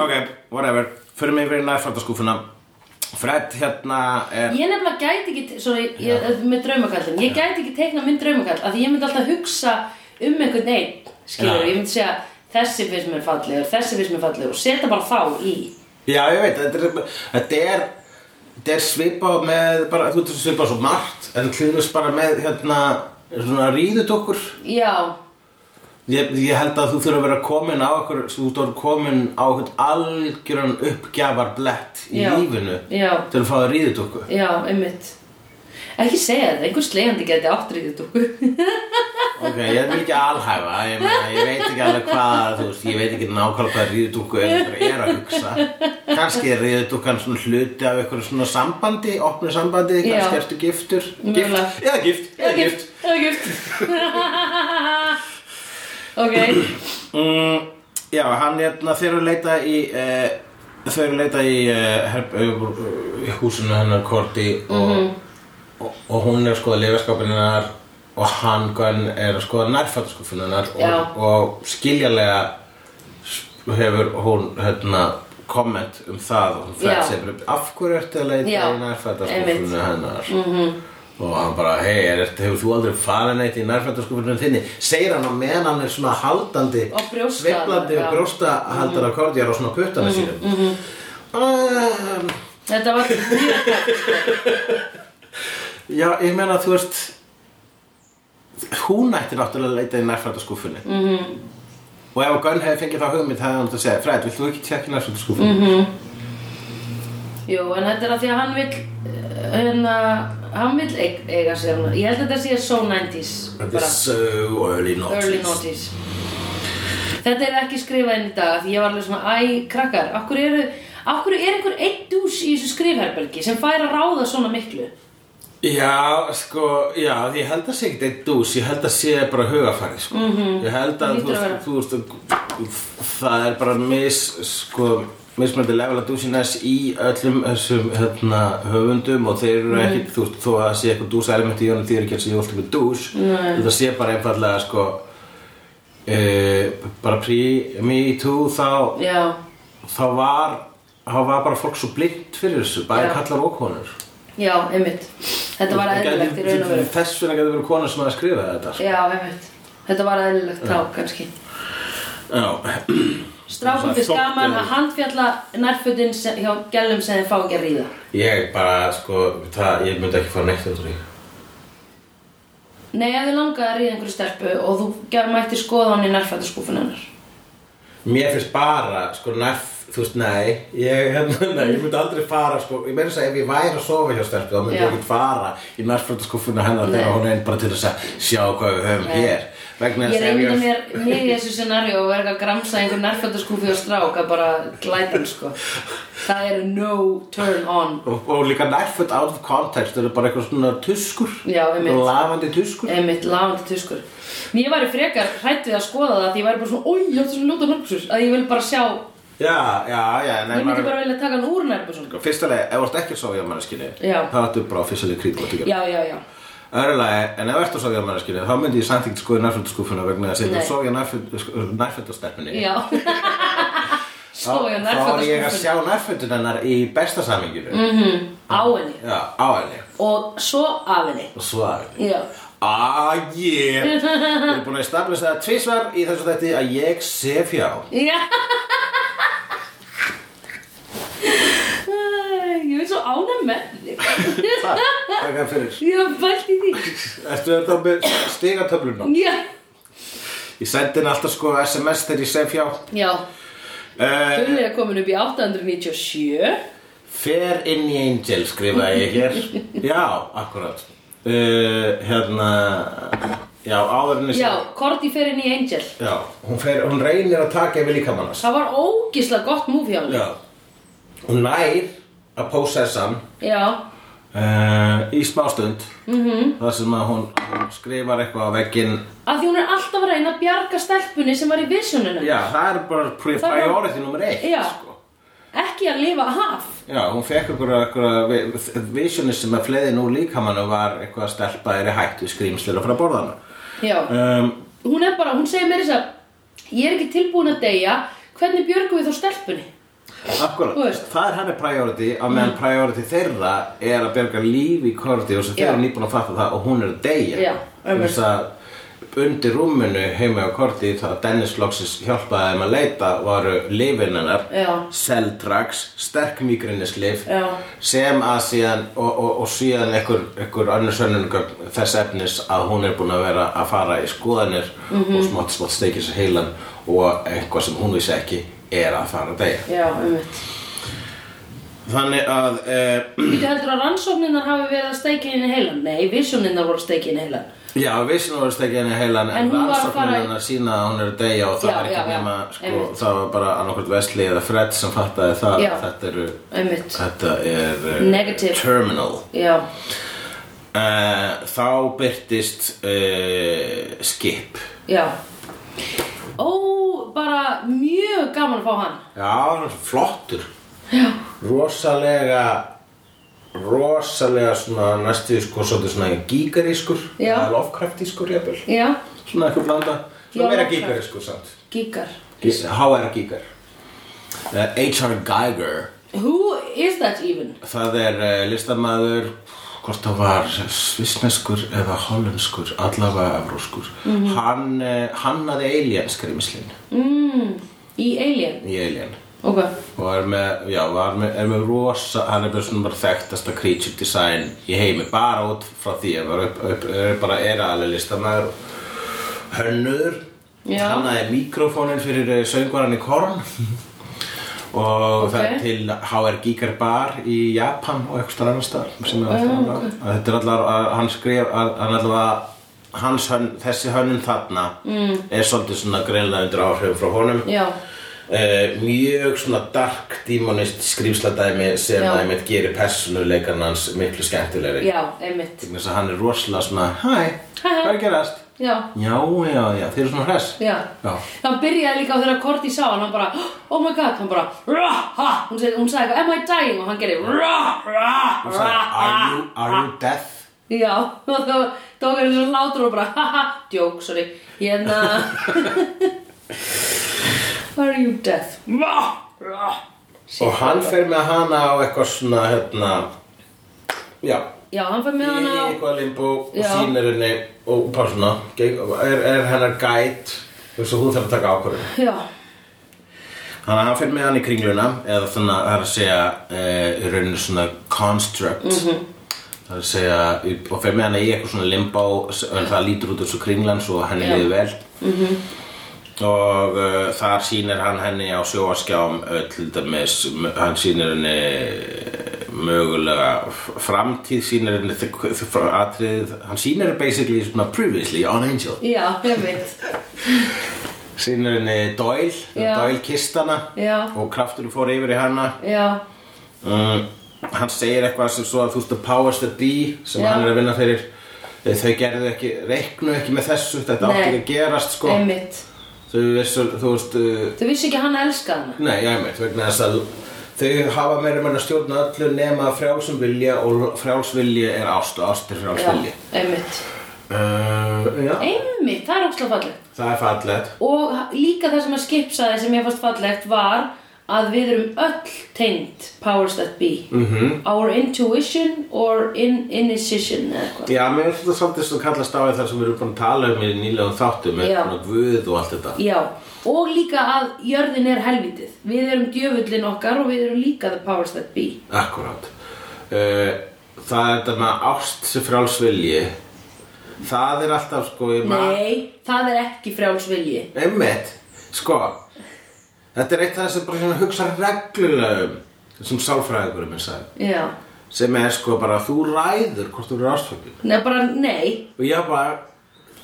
S2: Ok, whatever fyrir mig verið nærfaldaskúfuna Fred hérna er
S1: Ég nefnilega gæti ekki, te- sorry, ég, eh, með draumakallin Ég gæti ekki teikna minn draumakall Af því ég myndi alltaf hugsa um einhvern einn Skilur,
S2: Já.
S1: ég myndi segja Þessi finnst mér fallegur, þessi finnst mér fallegur Og setja bara þá í
S2: Já, ég veit, þetta er, þetta er þetta er svipað með bara, þú veist svipað svo margt en hlýðnust bara með hérna svona ríðut okkur
S1: Já,
S2: ég, ég held að þú þurfa að vera komin á okkur þú þurfa komin á okkur algjöran uppgjafar blett í
S1: Já.
S2: lífinu
S1: Já.
S2: til að fá að ríðut okkur
S1: já, einmitt Ekki segja þetta, einhver slegjandi geti áttriðið okkur
S2: ok, ég er mikið alhæfa ég, meina, ég veit ekki alveg hvað þú veist, ég veit ekki nákvæmlega hvað ríðut okkur er, er að hugsa kannski er ríðut okkur svona hluti af eitthvað svona sambandi, opnu sambandi
S1: Já.
S2: kannski ertu giftur
S1: Mögulega.
S2: gift, eða gift, eða gift.
S1: Eða gift Ok,
S2: Mm, já, hann hérna, þeir eru að leita í uh, þeir eru að leita í uh, herb, uh, húsinu hennar Korti og,
S1: Mhm.
S2: og, og hún er að skoða lifaskapinu hennar og hann Gunn er að skoða nærfattaskuffinu hennar
S1: Já.
S2: og, og skiljalega hefur hún hérna komment um það og hún
S1: Já.
S2: fætt sér bara, af hverju ertu að leita
S1: Já,
S2: í
S1: einmitt. Mhm.
S2: nærfattaskuffinu hennar og hann bara, hei, er þetta, hefur þú aldrei farið neitt í nærfættarskufunum þinni segir hann á meðan hann er svona haldandi
S1: Og brjósta-
S2: sveiflandi
S1: já. Mhm,
S2: og brjósta haldar mm. akkordjar og svona puttana sínum mm -hmm. um,
S1: þetta var mjög tætt
S2: já, ég meina þú veist hún ætti náttúrulega að leita í nærfættarskufunni mm -hmm.
S1: Mhm.
S2: og ef Gunn hefði fengið þá hugmynd hefði hann átt að segja, Fred, vilt þú ekki tjekka nærfættarskufunni? Mm
S1: Mhm. Jú, en þetta er að því að hann vill eh, hérna, hann vill eig- eiga sér hana. Ég held að þetta sé so 90s
S2: Þetta er
S1: bara.
S2: so early noughties
S1: early noughties Þetta er ekki skrifað inn í dag af Því ég var alveg svona, æ, krakkar Akkur eru, akkur er einhver einn dús í þessu skrifherbergi sem fær að ráða svona miklu
S2: Já, sko, já, ég held að sé ekkert eitt dús, ég held að sé bara hugafarið, sko. -hmm. Ég held að,
S1: Mhm. Það
S2: þú
S1: hlýtur að
S2: veist, þú veist, það er bara mis, sko, mismöndi level að dúsiness í öllum þessum, hérna, höfundum og þeir
S1: Mhm.
S2: eru ekki, þú veist, þó að það sé eitthvað dús element í honum, þeir eru ekki alls í alltaf með dús. Nei. Þetta sé bara einfallega, sko, uh, bara pre-me too þá,
S1: Já,
S2: þá var, þá var bara fólk svo blind fyrir þessu, bæði
S1: Já.
S2: kallar og konur.
S1: já, einmitt Þetta var
S2: Það gæti-
S1: eðlilegt í raun og veru
S2: Þess vegna getur verið kona sem að skrifa þetta sko.
S1: Já, einmitt Þetta var eðlilegt þá, kannski
S2: Já,
S1: Strákum
S2: Það
S1: fyrst
S2: þótti
S1: gaman
S2: eðlilegt.
S1: að handfjalla nærfötin sem- hjá gælum sem þeir fá ekki að ríða
S2: ég bara sko það, ég myndi ekki fara neitt út úr því
S1: Nei, ef þið langaði að ríða einhverju stelpu og þú gæm mætti skoða hann í nærfættaskúfun hennar
S2: Mér finnst bara sko nærf, þú veist, nei ég, hérna, nei, ég myndi aldrei fara sko, ég meira þess að ef ég væri að sofa hjá stelpu þá myndi
S1: Já.
S2: ég ekki fara í nærfröndaskúffuna hennar
S1: Nei.
S2: þegar hún er einn bara til þess að sjá hvað við höfum
S1: Nei.
S2: hér vegna
S1: Ég
S2: þess að ef
S1: reyndi mér mig í þessu scenari og verða að gramsa einhver nærfættaskúfi og strák að bara glæta hann sko Það eru no turn on
S2: og, og líka nærfrönd out of context eru bara eitthvað svona tuskur
S1: Já, einmitt.
S2: lafandi tuskur
S1: einmitt lafandi tuskur Mér væri frekar hrætt við að skoða það því ég væri bara svona Ói, ég átti svona ljóta nærbuxur að ég vil bara sjá Ég
S2: Já, já, já nei,
S1: myndi
S2: maður-
S1: bara vilja taka hann úr nærbuxun
S2: Fyrsta leið, ef þú ert ekki að sofa hjá manneskinni
S1: Já.
S2: þá ertu bara á fyrsta leið krítbóttíkar
S1: Já, já, já
S2: Öðru leið, en ef þú ert að sofa hjá manneskinni þá myndi ég samt ekki skoði nærfjöldaskuffuna vegna þess að
S1: Nei.
S2: ef þú sofa hjá eh, nærfjöldastelpunni
S1: Já Sko, Svo ég
S2: þá er ég að
S1: nærfættaskúfun
S2: sjá nærfjöldun hennar í besta saminginu
S1: Mhm. Á henni
S2: Já, á henni
S1: og svo af henni
S2: og svo að henni
S1: Já
S2: Ah, yeah Við erum búin að stablisa það tvisvar í þessu þetta að ég sef hjá
S1: Já Æ, Ég vil svo ánæg með þig
S2: Það, það er fyrir
S1: Ég var bælt í því
S2: Ertu þetta með stigatöfluna?
S1: Já
S2: Ég sendi henni alltaf sko SMS þegar ég sef hjá
S1: Já,
S2: uh,
S1: Gulli er komin upp í 897
S2: Fair in the Angel skrifaði ég hér Já, akkurat uh, Hérna Já, áður en ég
S1: Já, Korti fer inn í Angel
S2: Já, hún, fer, hún reynir að taka yfir líkamannas
S1: Það var ógislega gott múfi á hann
S2: Já Hún nær að possessa hann
S1: Já,
S2: uh, í smástund mm -hmm.
S1: Mhm.
S2: þar sem að hún, hún skrifar eitthvað á vegginn
S1: að því hún er alltaf að reyna að bjarga stelpunni sem var í visioninu
S2: Já, það er bara pri-
S1: Það var-
S2: priority nummer eitt
S1: Já.
S2: sko.
S1: Ekki að lifa af
S2: Já, hún fekk einhverja einhverja visioni sem að fleiðin úr líkamannu var eitthvað að stelpa er í hættu skrýmslir að fara að borða hana
S1: Já,
S2: um,
S1: hún er bara, hún segir mér þess að Ég er ekki tilbúin að deyja Hvernig björgum við þá stelpunni? Þú
S2: Akkurat,
S1: veist. Mhm.
S2: það er henni priority á meðan priority þeirra er að berga lífi í korti og sem þeir
S1: Já.
S2: eru nýbúin að fatta það og hún er að deyja
S1: Já,
S2: Þú veist að undir rúminu heima á korti þá að Dennis Loxis hjálpaði þeim að leita varu lifin hennar
S1: Já.
S2: Seltrax, sterk mígrinnislif
S1: Já.
S2: sem að síðan og, og, og síðan einhver, einhver önnur sönnungögn þess efnis að hún er búin að vera að fara í skoðanir
S1: Mhm.
S2: og smátt smátt steikja sér heilan og eitthvað sem hún vissi ekki er að fara að deyja
S1: Já, ummitt.
S2: þannig að eh,
S1: Þú heldur að rannsóknirnar hafi verið að steikja inn í heilan? Nei, visjónirnar voru að steikja inn í heilan.
S2: Já, vissin voru stekja henni heilan
S1: En
S2: en
S1: hún var að fara í-
S2: rannsóknirna sína að hún er að deyja og það
S1: Já,
S2: er ekki
S1: já, já,
S2: nema, sko,
S1: einmitt.
S2: það var bara annarkvæmt Vesli eða Fred sem fattaði það
S1: Já.
S2: þetta, eru,
S1: Ummitt.
S2: þetta er eh,
S1: Negative.
S2: terminal
S1: Já,
S2: uh, Þá byrtist uh, skip
S1: já. Ó, bara mjög gaman að fá hann.
S2: Já, hann er flottur Já Rosalega rosalega svona næstu sko svolítið svona gígarískur
S1: Já.
S2: eða Lovecraftískur jafnvel
S1: Já,
S2: svona eitthvað blanda
S1: Já,
S2: svona meira
S1: Lovecraft.
S2: gígarískur samt
S1: gíkar.
S2: H.R. Giger Eh, H.R. Giger
S1: Who is that even?
S2: það er eh, listamaður hvort það var svisneskur eða hollenskur, allavega evróskur hann eh, hannaði Alien skrýmislin
S1: Mm, í Alien.
S2: í Alien
S1: Ok.
S2: og er með, já, var með, er með rosa hann er með svona bara þekktasta creature design í heimi, bara út frá því að var upp, upp, er bara er alveg listamaður hönnur
S1: Já.
S2: hannaði mikrofónin fyrir eh, söngvaran í Korn og
S1: Ok.
S2: það er til HR Giger Bar í Japan og eitthvað starf annar staðar sem er alltaf annað að þetta er allar að hann skrif að hann allar að hans hönn, þessi hönnun þarna mm. er svolítið svona greinlega undir áhrifum frá honum
S1: Já.
S2: Eh, mjög svona dark dímonist skrýmsladæmi sem
S1: Já.
S2: það einmitt gerir personuleikarn hans miklu skemmtilegri
S1: Já, einmitt.
S2: Vegna þess að hann er rosalega svona hæ,
S1: Hæ, hæ."
S2: hvað er að gerast?
S1: Já,
S2: Já, já, já, þeir eru svona hress
S1: já.
S2: Já.
S1: Það byrjaði líka á þegar Korti sá hann, hann bara, oh my god, hann bara, rah, ha, hún sagði, hún sagði eitthvað, am I dying? Og hann gerði, rah, rah,
S2: Hún sagði,
S1: rah,
S2: are
S1: rah.
S2: you, are you death?
S1: Já, og þá tók hann eins og hlátur og bara, ha, ha, joke, sorry, hérna, are you death? Rah, rah.
S2: Og hann fer með hana á eitthvað svona, hérna Já,
S1: Já, hann fyrir
S2: í
S1: með hann á,
S2: eitthvað limbó og
S1: Já.
S2: sýnir henni og bara svona, geng- er, er hennar gæt þú veist að hún þarf að taka ákvörðun
S1: já,
S2: Þannig að hann fyrir með hann í kringluna eða þannig að það er að segja eh, í rauninu svona construct
S1: Mhm.
S2: það er að segja og fyrir með hann í eitthvað svona limbo en það lítur út eins og kringlan svo henni
S1: Já. Mhm.
S2: liði vel og uh, þar sýnir hann henni á sjóaskjám uh, til dæmis, m- hann sýnir henni mögulega f- framtíð sýnir henni þ- þ- fr- atriðið, hann sýnir henni basically svona previously on Angel
S1: já, ég veit,
S2: sýnir henni Doyle,
S1: Já.
S2: Doyle kistana
S1: já,
S2: og krafturinn fór yfir í hana
S1: já,
S2: um, hann segir eitthvað sem svo að þú veist að powers that be sem
S1: Já.
S2: hann er að vinna fyrir Eh, þau gerðu ekki, reiknu ekki með þessu þetta átti
S1: Nei.
S2: ekki að gerast sko
S1: einmitt.
S2: þau vissu, þú veist uh,
S1: Þau vissi ekki að hann elskaði hana.
S2: nei, ég meit, vegna þess að þau hafa meira meina stjórna öllu nema frjálsum vilja og frjálsvilja er ást og ást er
S1: Já,
S2: frjálsvilja
S1: einmitt.
S2: uh, já,
S1: Einmitt, það er ógslag fallegt.
S2: það er fallet
S1: Og líka það sem að Skip sagði sem ég fannst fallegt var að við erum öll tengd powers that be.
S2: Mhm.
S1: -hmm. Our intuition or in indecision eða eitthvað.
S2: já, mér finnst þetta svolítið svo kallast á við þar sem við erum búin að tala um í nýlegum þáttum með
S1: Já.
S2: svona guð og allt þetta
S1: Já, og líka að jörðin er helvitið. Við erum djöfullin okkar og við erum líka the powers that be.
S2: Akkurát uh, Það er þetta með ást sem fráls vilji Það er alltaf sko ég man-
S1: Nei, það er ekki frjáls vilji.
S2: Einmitt, sko Þetta er eitt af það sem bara svona hugsa reglulega um sem sálfræðingurinn minn sagði
S1: Já,
S2: sem er sko bara þú ræður hvort þú eru ástfangin
S1: nei bara nei.
S2: og ég bara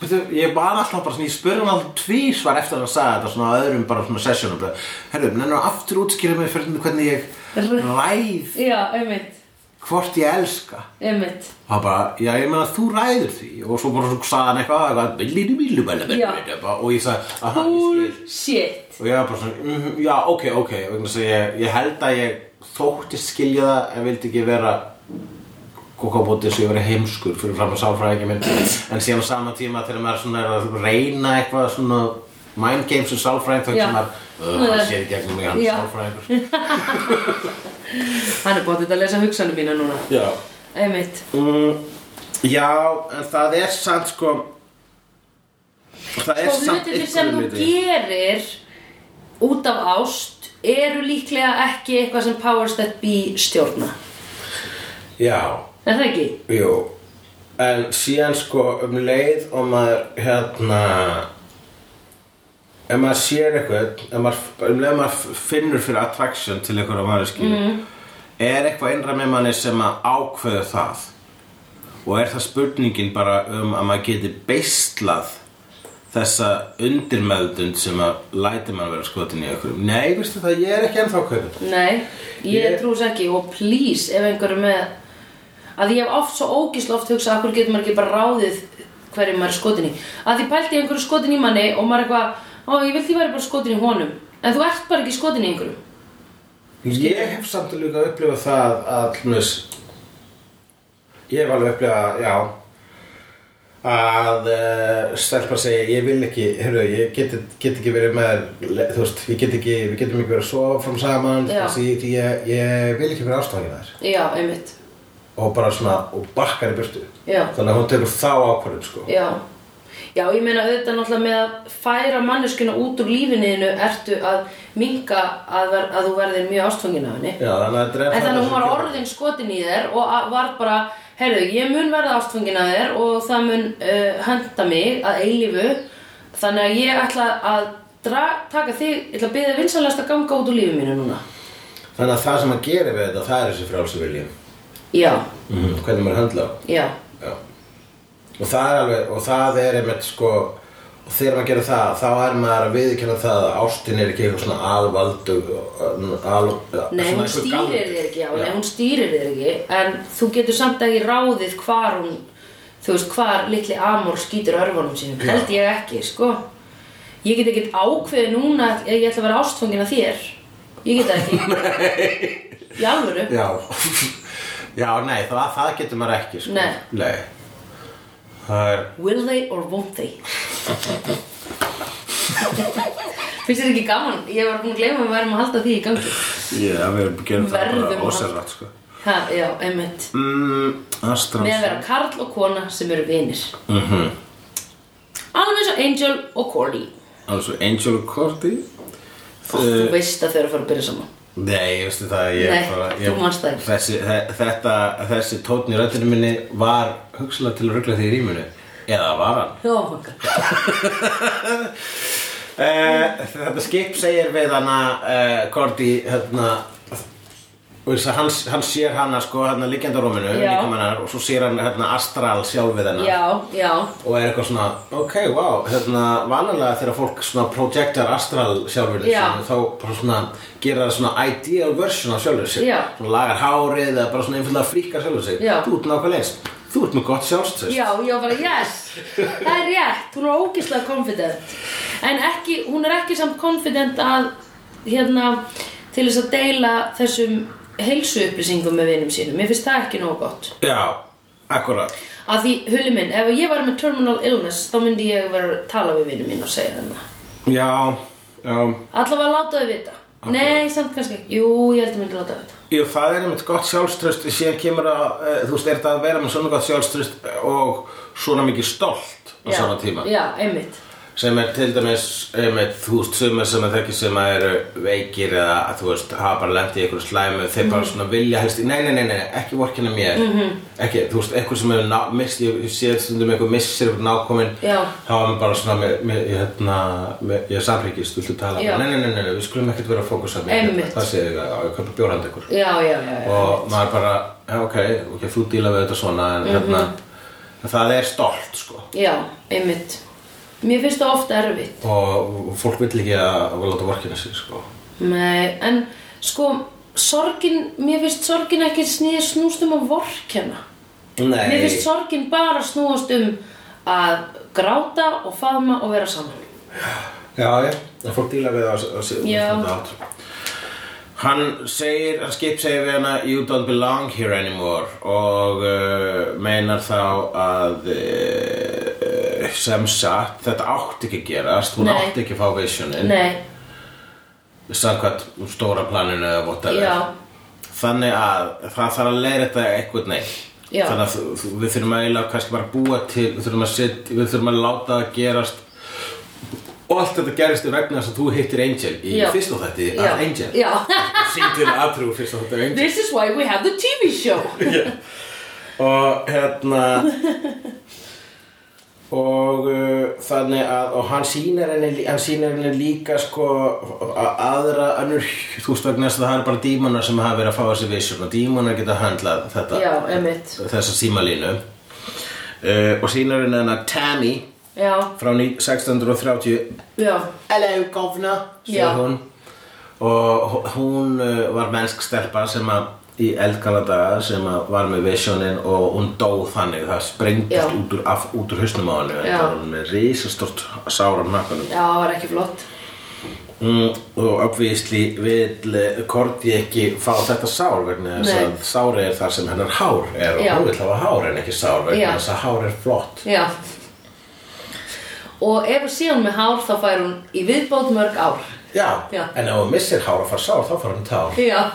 S2: veitu, ég var alltaf bara svona, ég spurði hann alltaf tvísvar eftir að hann sagði þetta svona á öðrum bara svona sessjónum bara, herru, nennu aftur útskýra mig fyrir hvernig ég ræð
S1: Já, einmitt,
S2: hvort ég elska
S1: einmitt.
S2: Það bara, já ég meina þú ræður því og svo bara svo sagði hann eitthvað, eitthvað billinu bílu bæla
S1: Já.
S2: bæla og ég sagði, aha, ég skil
S1: Bullshit.
S2: og ég var bara svona, mm, já ok, ok vegna þess að ég, ég held að ég þóttist skilja það en vildi ekki vera kokobóti sem ég verið heimskur fyrir fram að sáfræðingi minn en síðan á sama tíma þegar maður svona er að reyna eitthvað svona mind games og sáfræðing þá
S1: Já.
S2: ekki maður, "Ugh, hann sér í gegnum mig hann
S1: Já.
S2: er sáfræðingur
S1: Hann er bóttið að lesa hugsanum mína núna.
S2: já
S1: Einmitt.
S2: Mm, já, en það er samt sko Og það er
S1: Og
S2: samt
S1: hlutirnir
S2: einhverju
S1: sem þú
S2: leyti-
S1: gerir út af ást eru líklega ekki eitthvað sem powers that be stjórna.
S2: Já,
S1: Er það ekki?
S2: Jú, en síðan sko um leið og maður hérna ef maður sér eitthvað ef maður, um leið og maður finnur fyrir attraction til einhverja manneskju mm. er eitthvað innra með manni sem að ákveður það og er það spurningin bara um að maður geti beislað þessa undirmeðdund sem að læti mann vera skotin í okkur Nei, veistu það, ég er ekki ennþá kaupið
S1: Nei, ég
S2: Ég-
S1: yeah. trús ekki og please ef einhverju með að ég hef oft svo ógísla oft hugsað að hverju getur maður ekki bara ráðið hverju maður er skotin í að því pælti ég einhverju skotin í manni og maður eitthvað ó ég vil því væri bara skotin í honum en þú ert bara ekki skotin í einhverju
S2: Ég hef samt að líka upplifað það að hlumins ég hef alveg upplifað, já að uh, stelpa segja, ég vil ekki heyrðu, ég get, get ekki verið með þér, þú veist, ég get ekki, við getum ekki verið að sofa fram saman,
S1: Já.
S2: þessi, ég, ég, ég vil ekki verið ástofangin þær
S1: Já, einmitt
S2: og bara svona, og bakkar í burtu
S1: Já.
S2: þannig að hún tekur þá ákvörðin, sko
S1: Já Já, ég meina auðvitað náttúrulega með að færa manneskuna út úr lífinniðinu ertu að minka að, ver, að þú verðir mjög ástfangin af henni
S2: Já, þannig að þetta er
S1: En þannig að hún var
S2: sem-
S1: orðin skotin í þér og að- var bara, heyrðu, ég mun verða ástfangin að þér og það mun uh, henda mig að eilífu Þannig að ég ætla að dra, taka þig, ég ætla að byrja vinsalast að ganga út úr lífi mínu núna
S2: Þannig að það sem að gera við þetta, það er þessi frálsi viljum
S1: Já,
S2: hvernig maður höndla á
S1: já,
S2: Já. Og það er alveg, og það er einmitt sko, og þegar maður gerir það, þá er maður að viðkynna það að ástin er ekki eitthvað svona alvaldu, al,
S1: nei hún stýrir þér ekki, já, nei hún stýrir þér ekki En þú getur samt ekki ráðið hvar hún, þú veist, hvar litli amor skýtur örfunum sínum
S2: Já.
S1: Held ég ekki, sko Ég get ekkert ákveðið núna að ég ætla að vera ástfangin að þér Ég get það ekki Í alvöru
S2: Já, já, nei, það, það getur maður ekki sko.
S1: Nei.
S2: Nei. Það er,
S1: Will they or won't they? Finnst þér ekki gaman? Ég var búin að gleyma að við værum að halda því í gangi
S2: já, við gerum það
S1: Verðum
S2: bara
S1: að-
S2: ósérrætt sko.
S1: Ha, já, einmitt
S2: Mm, Astrans.
S1: Með að vera karl og kona sem eru vinir
S2: Mm -hmm.
S1: Alveg eins og Angel og Cordy
S2: Also, Angel og Cordy.
S1: Þú veist að þau eru að fara að byrja saman
S2: Nei, ég veistu það ég
S1: Nei,
S2: bara,
S1: þú
S2: ég,
S1: manst það ekki.
S2: þessi, þe- þetta, þessi tónn í röddinu minni var hugsalega til að ruggla því í rýminu eða var hann
S1: Já, fangar
S2: eh, Þetta skip segir við hana eh, Korti hérna, og þess að hann, hann sér hana sko, hérna líkjandaróminu
S1: Já.
S2: hennar, og svo sér hann hérna, astral sjálfið hennar
S1: Já, já
S2: og er eitthvað svona, ok, wow hérna, vanalega þegar fólk svona projektar astral sjálfurinn
S1: Já.
S2: sinni, þá bara svona gera það svona ideal version af sjálfurinn sinni,
S1: Já.
S2: svona lagar hárið eða bara svona einfallega fríkar sjálfurinn sinni
S1: Já.
S2: þú ert nákvæmlega eins, þú ert með gott sjálfstöð
S1: Já, já, bara yes Það er rétt, hún er ógislega confident En ekki, hún er ekki samt confident að hérna til þess að deila þessum heilsu upplýsingum með vinum sínum Mér finnst það ekki nógu gott
S2: Já, akkurat
S1: Að því, hulli minn, ef ég var með terminal illness þá myndi ég vera að tala við vinum mín og segja þarna
S2: Já, já,
S1: Alla var að láta þau vita Nei, samt kannski, ekki. jú, ég held að myndi láta þau vita
S2: Jú, það er einmitt gott sjálfströst síðan kemur að, e, þú veist, er þetta að vera með svona gott sjálfströst og svona mikið stolt á
S1: Já,
S2: sama tíma
S1: Já, einmitt
S2: sem er til dæmis einmitt, þú veist, sumir sem er þekki sem að eru veikir eða að þú veist, hafa bara lent í einhverju slæmu þeir
S1: Mhm.
S2: bara svona vilja helst, nei, nei, nei, nei, ekki vorkina mér ekki, þú veist, einhver sem hefur ná- misst, ég ég sé stundum einhver missir upp nákomin,
S1: Já.
S2: þá er mér bara svona með, með, ég, hérna, með, ég samryggist, viltu tala,
S1: Já.
S2: nei, nei, nei, nei, nei, við skulum ekkert vera að fókusa á mig,
S1: Einmitt.
S2: það sé ég, já, ég köpa bjórhand ykkur
S1: Já, já, já, já
S2: og maður bara, já, ok, ok, þú díla við þetta svona,
S1: Mhm.
S2: en hérna það er stolt, sko
S1: Já, einmitt Mér finnst það ofta erfitt
S2: og fólk vill ekki að að láta vorkina sig sko.
S1: Nei, en sko, sorgin, mér finnst sorgin ekki snýð snúst um að vorkenna.
S2: Nei,
S1: Mér finnst sorgin bara snúast um að gráta og faðma og vera saman.
S2: já, já, það fólk díla við það á- á- á-
S1: Já.
S2: á- á- á- Hann segir, hann skip segir við hana You don't belong here anymore og uh, meinar þá að uh, sem sagt, þetta átti ekki að gerast hún
S1: Nei.
S2: átti ekki að fá visionin
S1: Nei,
S2: samkvæmt stóra planinu eða whatever
S1: Já.
S2: þannig að það þarf að leiða þetta eitthvað neitt
S1: Já.
S2: þannig að þú- þú- við þurfum að eiginlega kannski bara að búa til við þurfum að, sit, við þurfum að láta það gerast Og allt þetta gerist vegna þess að þú hittir Angel í
S1: Já.
S2: fyrsta þætti
S1: Já.
S2: af Angel.
S1: Já.
S2: Sýndir aðtrú fyrsta þætti af Angel.
S1: This is why we have the TV show.
S2: og hérna og uh, þannig að og hann sýnir henni, lí- hann sýnir henni líka sko a- aðra önnur þú veist vegna þess að það er bara dímonar sem hafa verið að fá þessi vision og dímonar geta höndlað þetta
S1: Já, emitt.
S2: þessa símalínu uh, og sýnir henni hennar Tammy
S1: Já,
S2: frá ní- 1630
S1: já,
S2: Hello governor
S1: Já.
S2: segir hún og hú- hún uh, var mennsk stelpa sem að í eldgala daga sem að var með visionin og hún dó þannig það
S1: Já.
S2: sprengdist út úr, af, út úr hausnum á hennu
S1: Já.
S2: þetta var hún með risastort sára á nakkanum
S1: já, það var ekki flott.
S2: mm, og obvísli vil Korti ekki fá þetta sár vegna þess
S1: Nei.
S2: að sári er þar sem hennar hár er og
S1: Já.
S2: hún vil hafa hár en ekki sár
S1: Já.
S2: vegna þess að hár er flott
S1: Já. Og ef að sé hún með hár þá fær hún í viðbót mörg ár.
S2: Já,
S1: Já.
S2: en ef hún missir hár og far sár þá fara hún tár
S1: Já.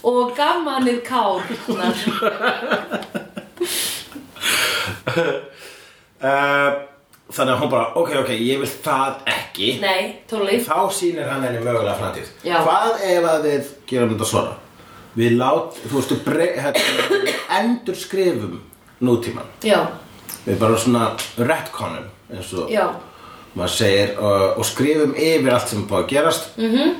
S1: Og gamanir kárnar.
S2: Uh, þannig að hún bara, ok, ok, ég vil það ekki
S1: Nei, totally.
S2: Þá sýnir hann henni mögulega framtíð
S1: Já.
S2: Hvað ef að við gerum þetta svona? Við lát, þú veistu, bre, hérna, endur skrifum nútíman
S1: Já,
S2: Við bara svona retconum, eins og
S1: já,
S2: maður segir uh, og, og skrifum yfir allt sem er búið að gerast mm -hmm.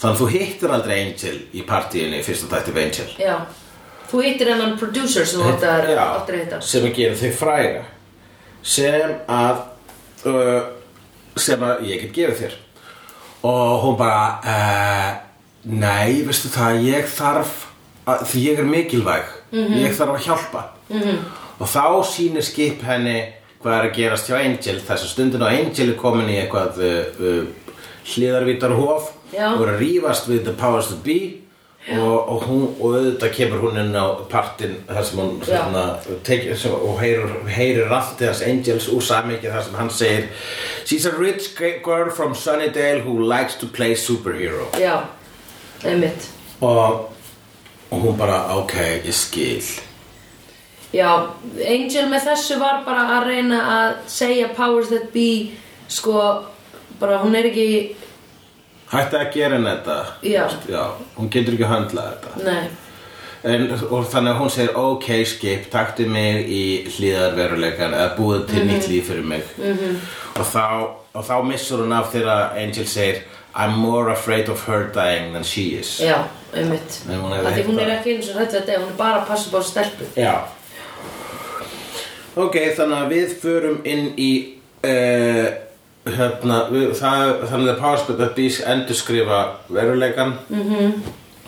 S2: Þannig að þú hittir aldrei Angel í partíinu í fyrsta tætti við Angel
S1: já. Þú hittir hennan producer sem þú átt að
S2: Já,
S1: átt að hitta.
S2: sem að gera þig fræga sem að uh, sem að ég get gefið þér og hún bara uh, nei, veistu það ég þarf, að, því ég er mikilvæg
S1: Mhm.
S2: ég þarf að hjálpa -hmm. og þá sýnir skip henni hvað er að gerast hjá Angel þessa stundin og Angel er komin í eitthvað uh, uh, hliðarvítarhof
S1: Já.
S2: og er að rífast við the powers that be og, og, hún, og auðvitað kemur hún inn á partinn þar sem hún
S1: Já.
S2: hérna, tek, sem, og heyrir, heyrir rafti hans Angels úr samvikið þar sem hann segir She's a rich girl from Sunnydale who likes to play superhero
S1: Já, einmitt.
S2: og, og hún bara, ok, ég skil
S1: Já, Angel með þessu var bara að reyna að segja powers that be, sko, bara hún er ekki,
S2: Hætti að gera henni þetta
S1: Já.
S2: Hún getur ekki að höndla þetta
S1: nei,
S2: En, og þannig að hún segir ok skip, taktu mig í hlýðarveruleikan eða búið til nýtt líf fyrir mig -hmm. og, þá, og þá missur hún af þegar Angel segir I'm more afraid of her dying than she is
S1: já, einmitt.
S2: Nei, hún hefði
S1: Af því
S2: heyrt
S1: hún er
S2: það.
S1: ekki eins og hrætt við þetta, hún er bara að passa bara stelpu.
S2: Já Ok, þannig að við förum inn í uh, hérna, við, það, þannig að Powerspot að Beast endurskrifa veruleikan -hmm.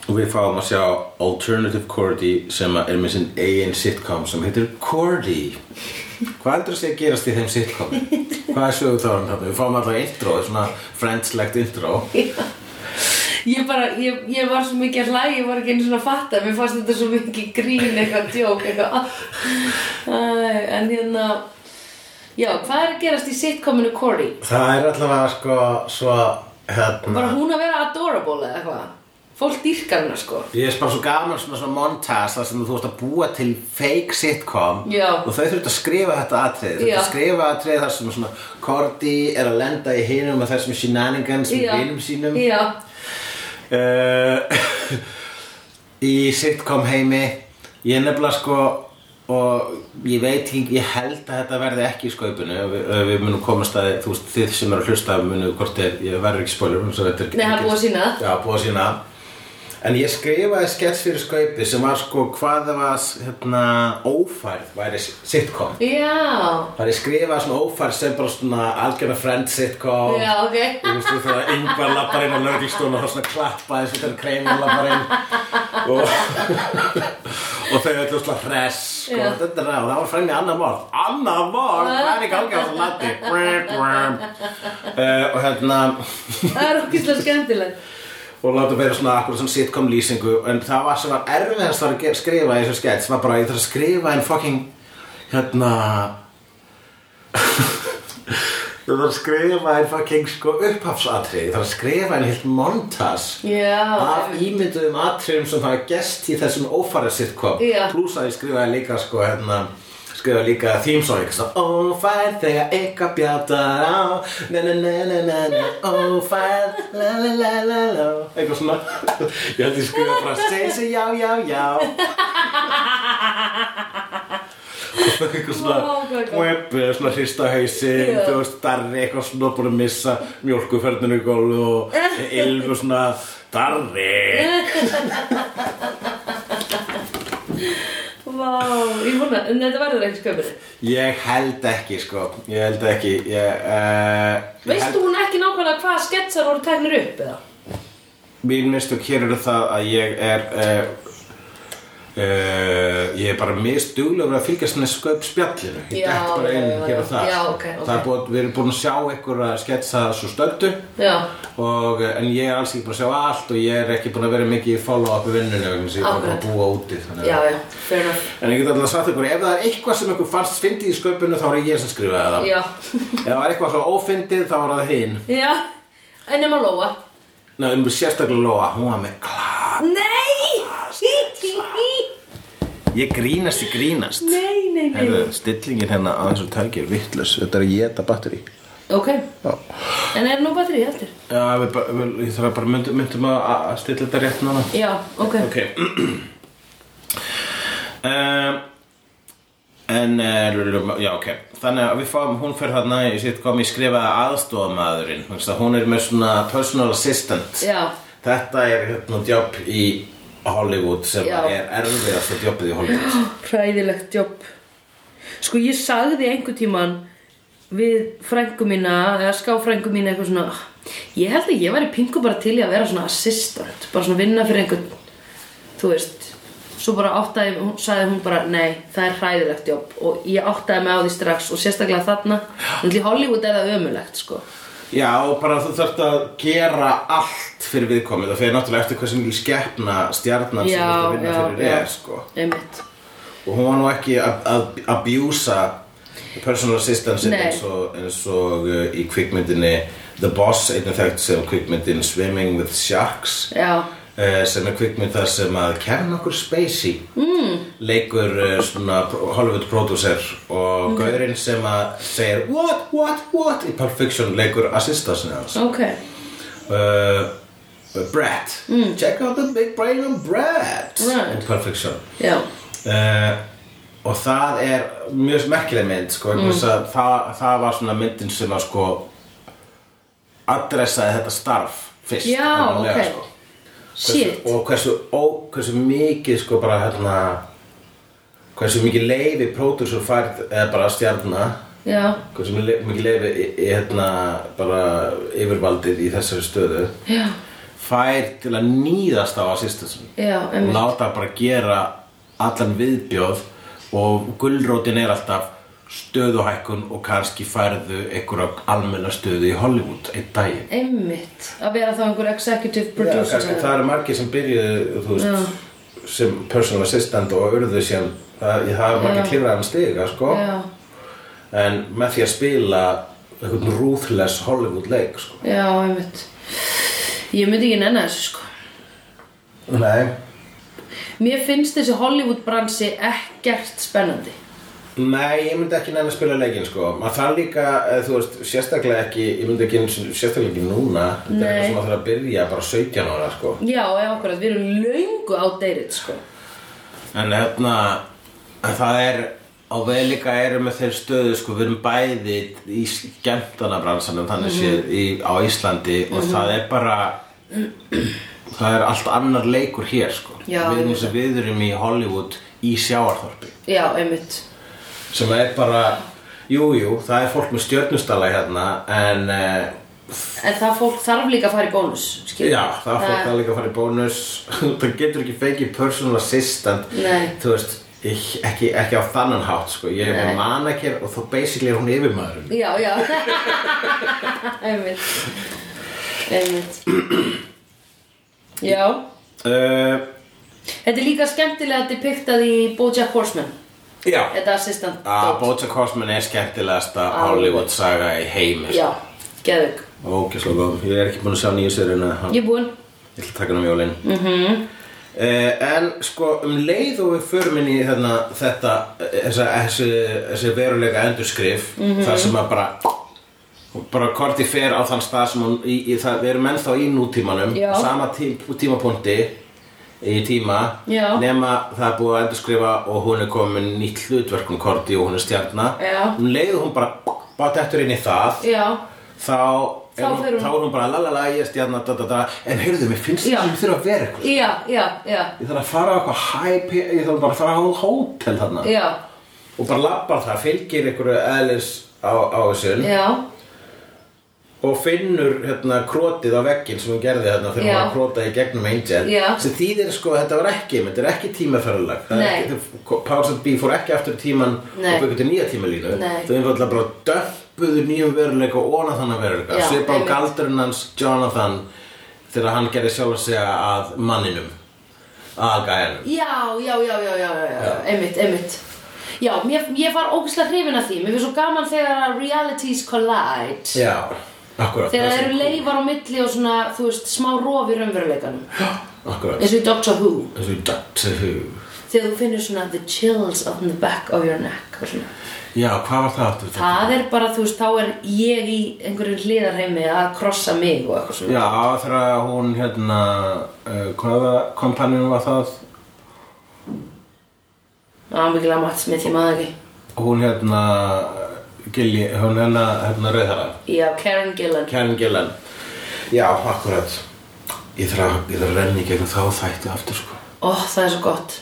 S2: og við fáum að sjá Alternative Cordy sem að er með sinn eigin sitcom sem heitir Cordy Hvað heldur að sé að gerast í þeim sitcom? Hvað er sögur þá hann? Við fáum alltaf intro, svona friendslegt intro
S1: Ég bara, ég, ég var svo mikið að hlæja, ég var ekki eins og að fatta, mér fannst þetta svo mikið grín, eitthvað djók, eitthvað, ah. Æ, en hérna, já, hvað er að gerast í sitcominu Corey?
S2: Það er allavega sko svo hérna
S1: Var hún að vera adorable eða eitthvað? Fólk dýrkar hennar sko.
S2: Ég er bara svo gaman svona svona montas þar sem þú ert að búa til fake sitcom
S1: Já.
S2: og þau þurft að skrifa þetta atrið þau þurft
S1: Já.
S2: að skrifa atrið þar sem svona Cordy er að lenda í hinum og þessum shenanigans með
S1: Já.
S2: vinum sínum
S1: Já,
S2: uh, í sitcom heimi ég nefnilega sko og ég veit ekki, ég held að þetta verði ekki í skaupinu og við, og við munum komast að þú veist, þið sem eru að hlusta munum hvort er, ég verður ekki spoiler Nei, það
S1: Nei, það er búið að sýna það.
S2: Já, búið að sína En ég skrifaði skets fyrir skaupi sem var sko hvað það var hérna, ófærð væri sitcom
S1: já,
S2: Það er skrifað svona ófærð sem bara svona algjörna friend sitcom
S1: já, ok.
S2: Þú veist þú þegar yngvar lappar inn á lögvíkstun og hann svona klappa þessu þegar kreimur lappar inn og, og þau öllu svona hress sko,
S1: Já.
S2: þetta er það og það var fremni annað morð annað morð, hvað er í gangi á þessu landi uh, og hérna
S1: Það er okkislega skemmtilegt.
S2: og láta vera svona akkur svona sitcom lýsingu en það var sem var erfiðast var að ge- skrifa í þessu skets var bara ég þarf að skrifa en fucking hérna ég þarf að skrifa en fucking sko upphafsatrið ég þarf að skrifa en heilt montas
S1: Já,
S2: af ímynduðum atriðum sem hafa gest í þessum ófæra sitcom
S1: Já.
S2: pluss að ég skrifaði líka sko hérna skrifa líka theme song eitthvað svona Ófærð þegar eitthvað bjátar á Na na na na na na Ófærð La la la la la Eitthvað svona Ég held ég skrifa bara Segi sig já já já Eitthvað svona
S1: Vá, hvað er gott.
S2: Web, svona hrista hausinn
S1: Já.
S2: Þú veist, darri eitthvað svona Búin að missa mjólkuferðinu í gólf Og ylfu svona Darri
S1: Vá, ég vona, en þetta verður ekki sköpur
S2: Ég held ekki, sko Ég held ekki ég, uh,
S1: Veistu hún ekki nákvæmlega hvaða sketsar voru teknir upp eða?
S2: Mín mistök hér eru það að ég er uh, uh, Ég er bara mistuglega að fylgjast með sköp spjallinu Ég
S1: Já,
S2: dætt bara inn
S1: já, já,
S2: hér
S1: já.
S2: og það
S1: Já,
S2: sko.
S1: ok, ok.
S2: Það er búið, Við erum búin að sjá ykkur að sketsa svo stöldu
S1: Já,
S2: og, eh, En ég er alls ekki búin að sjá allt Og ég er ekki búin að vera mikið í follow-up í vinnunni vegna þess að Ég er bara
S1: Akkurat.
S2: búin að búa úti þannig að-
S1: já, já, fair enough
S2: En ég get alltaf sagt ykkur, ef það er eitthvað sem ykkur fannst fyndið í sköpunum, þá er ég sem skrifaði það.
S1: Já.
S2: Ef það var eitthvað svo ófyndið, þá var það hinn.
S1: Já, en nema Lóa
S2: Nei, um sérstaklega Lóa, hún var með klart.
S1: Nei!
S2: Ég grínast, ég grínast.
S1: Nei, nei, nei
S2: Herðu, stillingin hérna á þessu tæki er vittlus. Þetta er að geta batteri.
S1: Ok,
S2: Já.
S1: en er nú batterið eftir?
S2: Já, við, bara- við, ég þarf bara myndum, myndum að að stilla þetta rétt nána.
S1: Já, ok
S2: Ok. um, en, uh, já, ok. Þannig að við fáum, hún fer þarna, ég sétt kom ég skrifaði aðstofamaðurinn. Þannig að hún er með svona personal assistant.
S1: Já,
S2: Þetta er hérna jobb í Hollywood sem
S1: Já.
S2: er erfiðast að jobbið í Hollywood.
S1: hræðilegt jobb Sko ég sagði einhver tíman við frængu mína eða ská frængu mína eitthvað svona "Ah, ég held að ég væri pingu bara til í að vera svona assistant, bara svona vinna fyrir einhvern þú veist svo bara áttaði, hún sagði hún bara nei, það er hræðilegt jobb og ég áttaði mig á því strax og sérstaklega þarna en til Hollywood er það ömulegt sko
S2: Já, og bara þú þarft að gera allt fyrir viðkomið og fyrir náttúrulega eftir hversu mikil skeppna stjarnan sem
S1: Já,
S2: þú ert að vinna
S1: já,
S2: fyrir
S1: já.
S2: er, sko.
S1: einmitt,
S2: Og hún var nú ekki að- að abjúsa personal assistance
S1: Nei.
S2: eins og, eins og uh, í kvikmyndinni The Boss, einnig þekkt sem kvikmyndin Swimming with Sharks
S1: já
S2: uh, sem er kvikmynd þar sem að Kevin okkur Spacey mm. leikur uh, svona pro- Hollywood producer og
S1: Mhm.
S2: gaurinn sem að segir what, what, what í Pulp Fiction leikur assistasni hans
S1: ok,
S2: uh, Brett Check out the big brain on Brett
S1: Mm. Brett.
S2: og Perfection
S1: já,
S2: uh, og það er mjög merkileg mynd sko, mm. það, það var svona myndin sem að sko adressaði þetta starf fyrst
S1: Já,
S2: alvarlega,
S1: ok. shit
S2: sko. hversu, og hversu, ó, hversu mikið sko bara hérna hversu mikið leiði pródúsur færð eða bara stjarna
S1: já,
S2: hversu mikið mikið leiði í, í hérna bara yfirvaldið í þessari stöðu
S1: já,
S2: fær til að nýðast á assistansun
S1: já,
S2: og
S1: einmitt
S2: láta bara gera allan viðbjóð og gullrótin er alltaf stöðuhækkun og kannski færðu einhverja almenna stöðu í Hollywood einn daginn
S1: Einmitt, að vera þá einhver executive
S2: Já,
S1: producer
S2: kannski það eru margir sem byrjuðu þú veist, sem personal assistant og urðu sem það, það er margir
S1: Já.
S2: klifraðan stiga sko.
S1: Já,
S2: en með því að spila einhvern ruthless Hollywood leik sko.
S1: já, einmitt Ég myndi ekki nenni þessu sko
S2: Nei,
S1: Mér finnst þessi Hollywood bransi ekkert spennandi
S2: Nei, ég myndi ekki nefn að spila leikinn sko maður þarf líka, eh, þú veist, sérstaklega ekki ég myndi ekki, einu sinni- sérstaklega ekki núna þetta er
S1: Nei.
S2: eitthvað sem maður þarf að byrja bara 17 ára sko
S1: Já, já, okkur, við erum löngu outdated sko
S2: en hérna, en það er á við líka erum með þeir stöðu sko, við erum bæði í skemmtanabransanum þannig
S1: Mhm.
S2: séð í, á Íslandi og það er bara það er allt annar leikur hér sko
S1: Já,
S2: við, erum,
S1: auðvitað.
S2: við erum í Hollywood í sjáarþorpi
S1: Já, einmitt
S2: sem er bara jú, jú, það er fólk með stjörnustala hérna en uh,
S1: En það fólk þarf líka að fara í bónus skilur.
S2: já, það er fólk það líka að fara í bónus það getur ekki fengið personal assistant
S1: Nei.
S2: þú veist, ég, ekki, ekki á þannan hátt sko. ég er
S1: Nei.
S2: bara manager og þá basically er hún yfirmaðurinn
S1: Já, já Einmitt Einmitt Já
S2: uh,
S1: Þetta er líka skemmtilega depiktað í Bojack Horseman
S2: já
S1: Þetta assistant
S2: að
S1: dót.
S2: Bojack Horseman er skemmtilegasta
S1: Alveg.
S2: Hollywood saga í heimi sko.
S1: Já, geðug
S2: ógislega góð, ég er ekki búin að sjá nýju sérina
S1: Ég er búinn
S2: Ég ætla að taka hann um jólinn mm -hmm. Uh, en sko um leið og við förum inn í þarna, þetta, eh, þessa, þessi, þessi veruleika endurskrif
S1: Mhm.
S2: þar sem að bara og bara Korti fer á þann stað sem hún, í, í, það, við erum ennþá í nútímanum
S1: Já.
S2: sama tí, tímapunkti í tíma
S1: Já.
S2: nema það er búið að endurskrifa og hún er komin með nýtt hlutverk um Korti og hún er stjarna
S1: Já.
S2: um leið og hún bara bátt eftir inn í það
S1: Já,
S2: þá
S1: Þá
S2: er hún,
S1: fer hún-
S2: þá er hún bara la la la ég er stjarna da, da, da. en heyrðu mér finnst
S1: Já.
S2: það sem þurfa að vera eitthvað
S1: já, já, já,
S2: ég þarf að fara á eitthvað hæp ég þarf bara að fara á hótel þarna
S1: já,
S2: og bara labbar það, fylgir einhverju eðlis á, á þessu
S1: já,
S2: og finnur hérna krótið á vegginn sem hún gerði hérna þegar
S1: Já.
S2: hún var að króta í gegnum Angel
S1: Já.
S2: sem þýðir sko að þetta var ekki þetta er ekki tímaferðalag Það er
S1: Nei.
S2: ekki- þau- Powers that Be fór ekki aftur í tíman
S1: Nei.
S2: og byggur til nýja tímalínu
S1: Nei.
S2: þau einfallega bara döppuðu nýjum veruleika og óna þannig veruleika
S1: Já,
S2: svipa á
S1: einmitt.
S2: galdurinn hans Jonathan þegar hann gerði sjálf að segja að manninum að gæjanum
S1: já, já, já, já, já, já, já, einmitt, einmitt. Já, mér, ég var ógustlega hrifin af því. Mér finnst svo gaman þegar að realities collide.
S2: Já, akkurat
S1: Þegar það
S2: er
S1: eru leifar á milli og svona, þú veist, smá rof í raunveruleikanum.
S2: Akkurat
S1: Eins og í Doctor Who.
S2: eins og í Doctor Who
S1: Þegar þú finnur svona the chills on the back of your neck og svona.
S2: Já, hvað var það aftur?
S1: Það er bara, þú veist, þá er ég í einhverjum hliðarheimi að krossa mig og eitthvað svona.
S2: Já, þegar hún hérna, uh, hvaða kompanjum var það?
S1: Það er mikilvægt Matt Smith, ég maður ekki.
S2: Hún hérna, Gilli, hún hérna, hérna rauðara,
S1: Já, Karen Gillan.
S2: Karen Gillan. Já, akkurat. Ég þarf að, ég þarf að renni í gegnum þá þætti aftur, sko.
S1: Ó, það er svo gott.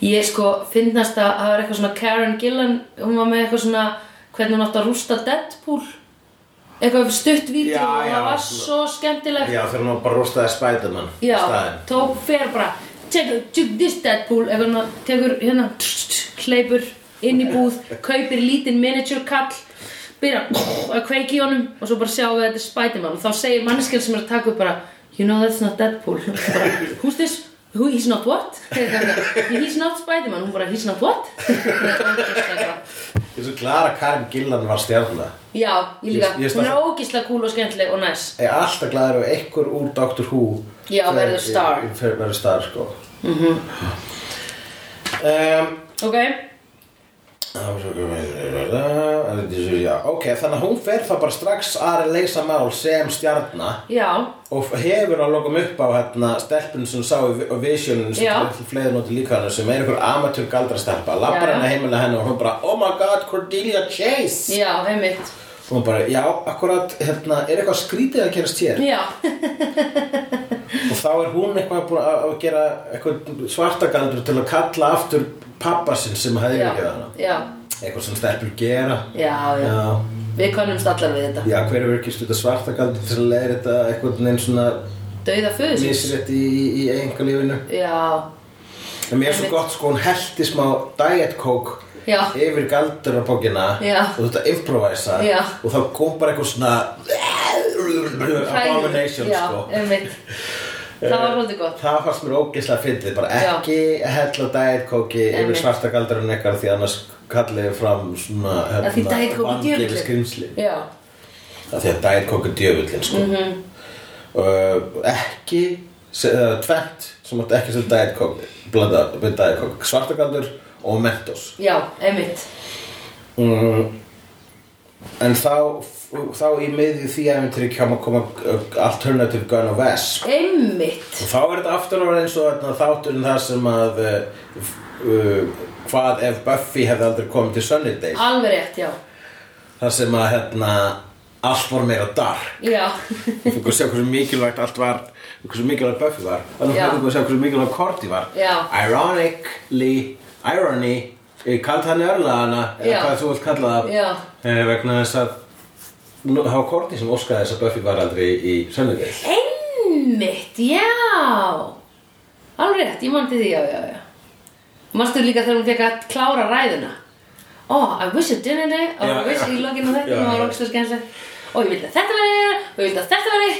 S1: Ég sko, finnast að það var eitthvað svona Karen Gillan, hún var með eitthvað svona, hvernig hún átti að rústa Deadpool. Eitthvað stutt vídeo
S2: Já,
S1: og
S2: já,
S1: það var
S2: svona-
S1: svo skemmtilegt.
S2: Já, þegar hún bara rústaði Spiderman í
S1: Já,
S2: staðinn.
S1: tók fer bara tekur, tjúk, this Deadpool eitthvað svona, tekur hérna tss, tss, hleypur inn í búð, kaupir lítinn miniature kall byrja að kveiki í honum og svo bara sjáum við að þetta er Spiderman og þá segir manneskjan sem er að taka upp bara you know that's not Deadpool Og bara, who's this? Who, he's not what? he's not Spiderman hún bara he's not what?
S2: Ég er svo klar að Karen Gillan var stjarnar.
S1: Já, ég líka,
S2: Ég- ég
S1: hún
S2: stað-
S1: er ógislega cool og skemmtileg og næs
S2: Ég er alltaf glaður ef einhver úr Doctor Who
S1: Já,
S2: fer-
S1: verður star.
S2: fer- Verður star, sko. Mhm. Um,
S1: ok,
S2: Já, ok, þannig að hún fer þá bara strax að leysa mál sem stjarnar
S1: já
S2: og hefur að lokum upp á hérna stelpun sem hún sá í Vi- á Vision
S1: Já.
S2: sem fleiði nóti líka hann sem er einhver amatör galdrastelpa lappar
S1: Já.
S2: henni heimilega henni og hún bara oh my god Cordelia Chase
S1: já, heimitt,
S2: og hún bara já, akkurat, hérna, er eitthvað skrítið að gerast hér
S1: já
S2: og þá er hún eitthvað búin að að gera eitthvað svarta galdur til að kalla aftur pappa sinn sem hefði
S1: já,
S2: ekki hana
S1: já
S2: eitthvað sem stelpur gera
S1: Já, já,
S2: Já.
S1: Við konumst allar við þetta.
S2: Já, hver er ekki stundar svartagaldur til að leiða þetta eitthvað neinn svona
S1: Dauða föðusins.
S2: misrétt í, í, í einhverlífinu.
S1: Já,
S2: En mér er svo gott sko, hún heldi smá diet coke
S1: Já.
S2: yfir galdurabókina
S1: Já.
S2: og þetta improvisa
S1: Já.
S2: og þá kom bara eitthvað svona abomination
S1: já,
S2: sko.
S1: einmitt. Það var svolítið gott.
S2: Það fannst mér ógeðslega fyndið, bara
S1: Já.
S2: ekki hella diet coke yfir
S1: Einmitt.
S2: svartagaldurinn eitthvað því annars kalliði fram svona hérna,
S1: Af því Diet Coke er
S2: vangefið
S1: djöfullinn.
S2: skrimsli.
S1: Já,
S2: Það því að Diet Coke er djöfullin sko.
S1: Mhm.
S2: mm -hmm. Eh, Ekki eða tvennt sem átti ekki sem Diet Coke blanda við Diet Coke svartagaldur og Mentos Mm.
S1: já, einmitt.
S2: en þá, þá í miðju því æfintri kjáma að koma uh, Alternative Gun of S
S1: Einmitt.
S2: og þá er þetta aftur ára eins og þarna þátturinn þar sem að uh, uh, hvað ef Buffy hefði aldrei komið til Sunnydale
S1: Alveg rétt, já.
S2: þar sem að hérna allt var meira dark
S1: Já,
S2: Við fengum að sjá hversu mikilvægt allt var hversu mikilvægt Buffy var þannig
S1: Já.
S2: að fengum að sjá hversu mikilvægt Korti var
S1: Já.
S2: Ironically Irony ég kallt hann örlaðana eða
S1: Já.
S2: hvað þú vilt kalla það
S1: Já.
S2: eh, vegna þess að nú, það var Korti sem óskaði þess að Buffy var aldrei í sönnugil
S1: einmitt, já. Alveg rétt, ég mann til því, já, já, já. Manstu líka þegar hún fekk að klára ræðuna? Oh, I wish it didn't, eh? Oh,
S2: Já,
S1: I wish
S2: já.
S1: í lokinu á
S2: Já,
S1: þetta og það var
S2: já.
S1: ógstlega skemmtilegt. Og ég vildi að þetta veri, og ég vildi að þetta veri,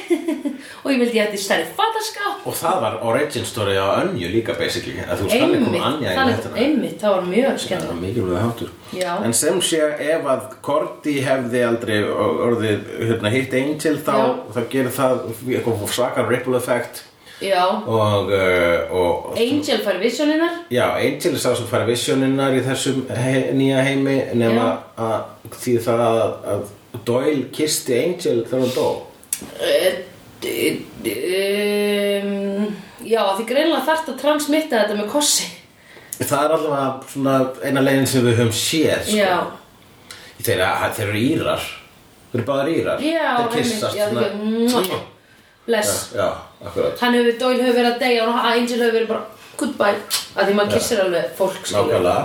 S1: og ég vildi að ég ætti stærri fattaskáp.
S2: og það var origin story á önju líka basically að þú skalli
S1: Einmitt,
S2: koma Anja í
S1: þannig,
S2: nættuna
S1: einmitt, það var mjög
S2: það
S1: skemmt
S2: var mikilvægt hátur
S1: Já.
S2: en sem sé ef að Korti hefði aldrei orðið hérna, hitt Angel þá,
S1: Já.
S2: þá gerir það eitthvað svakar ripple effect
S1: Já.
S2: og, uh, og
S1: Angel fær visioninnar.
S2: já, Angel er sá sem fara visioninnar í þessum he nýja heimi nema að því það að, að Doyle kisti Angel þegar hún dó
S1: Eh, Um, já, af því greinlega þarft að transmitta þetta með kossi.
S2: það er allavega svona eina leiðin sem við höfum séð sko.
S1: Já.
S2: þeir, þeir eru írar þeir eru báðar írar
S1: Já,
S2: þeir kissast
S1: einmitt, já,
S2: svona-
S1: þeir- Mwah. Bless.
S2: já, akkurat
S1: Hann hefur, Doyle hefur verið að deyja og Angel hefur verið bara goodbye. Af því maður kissir alveg fólk, sko.
S2: nákvæmlega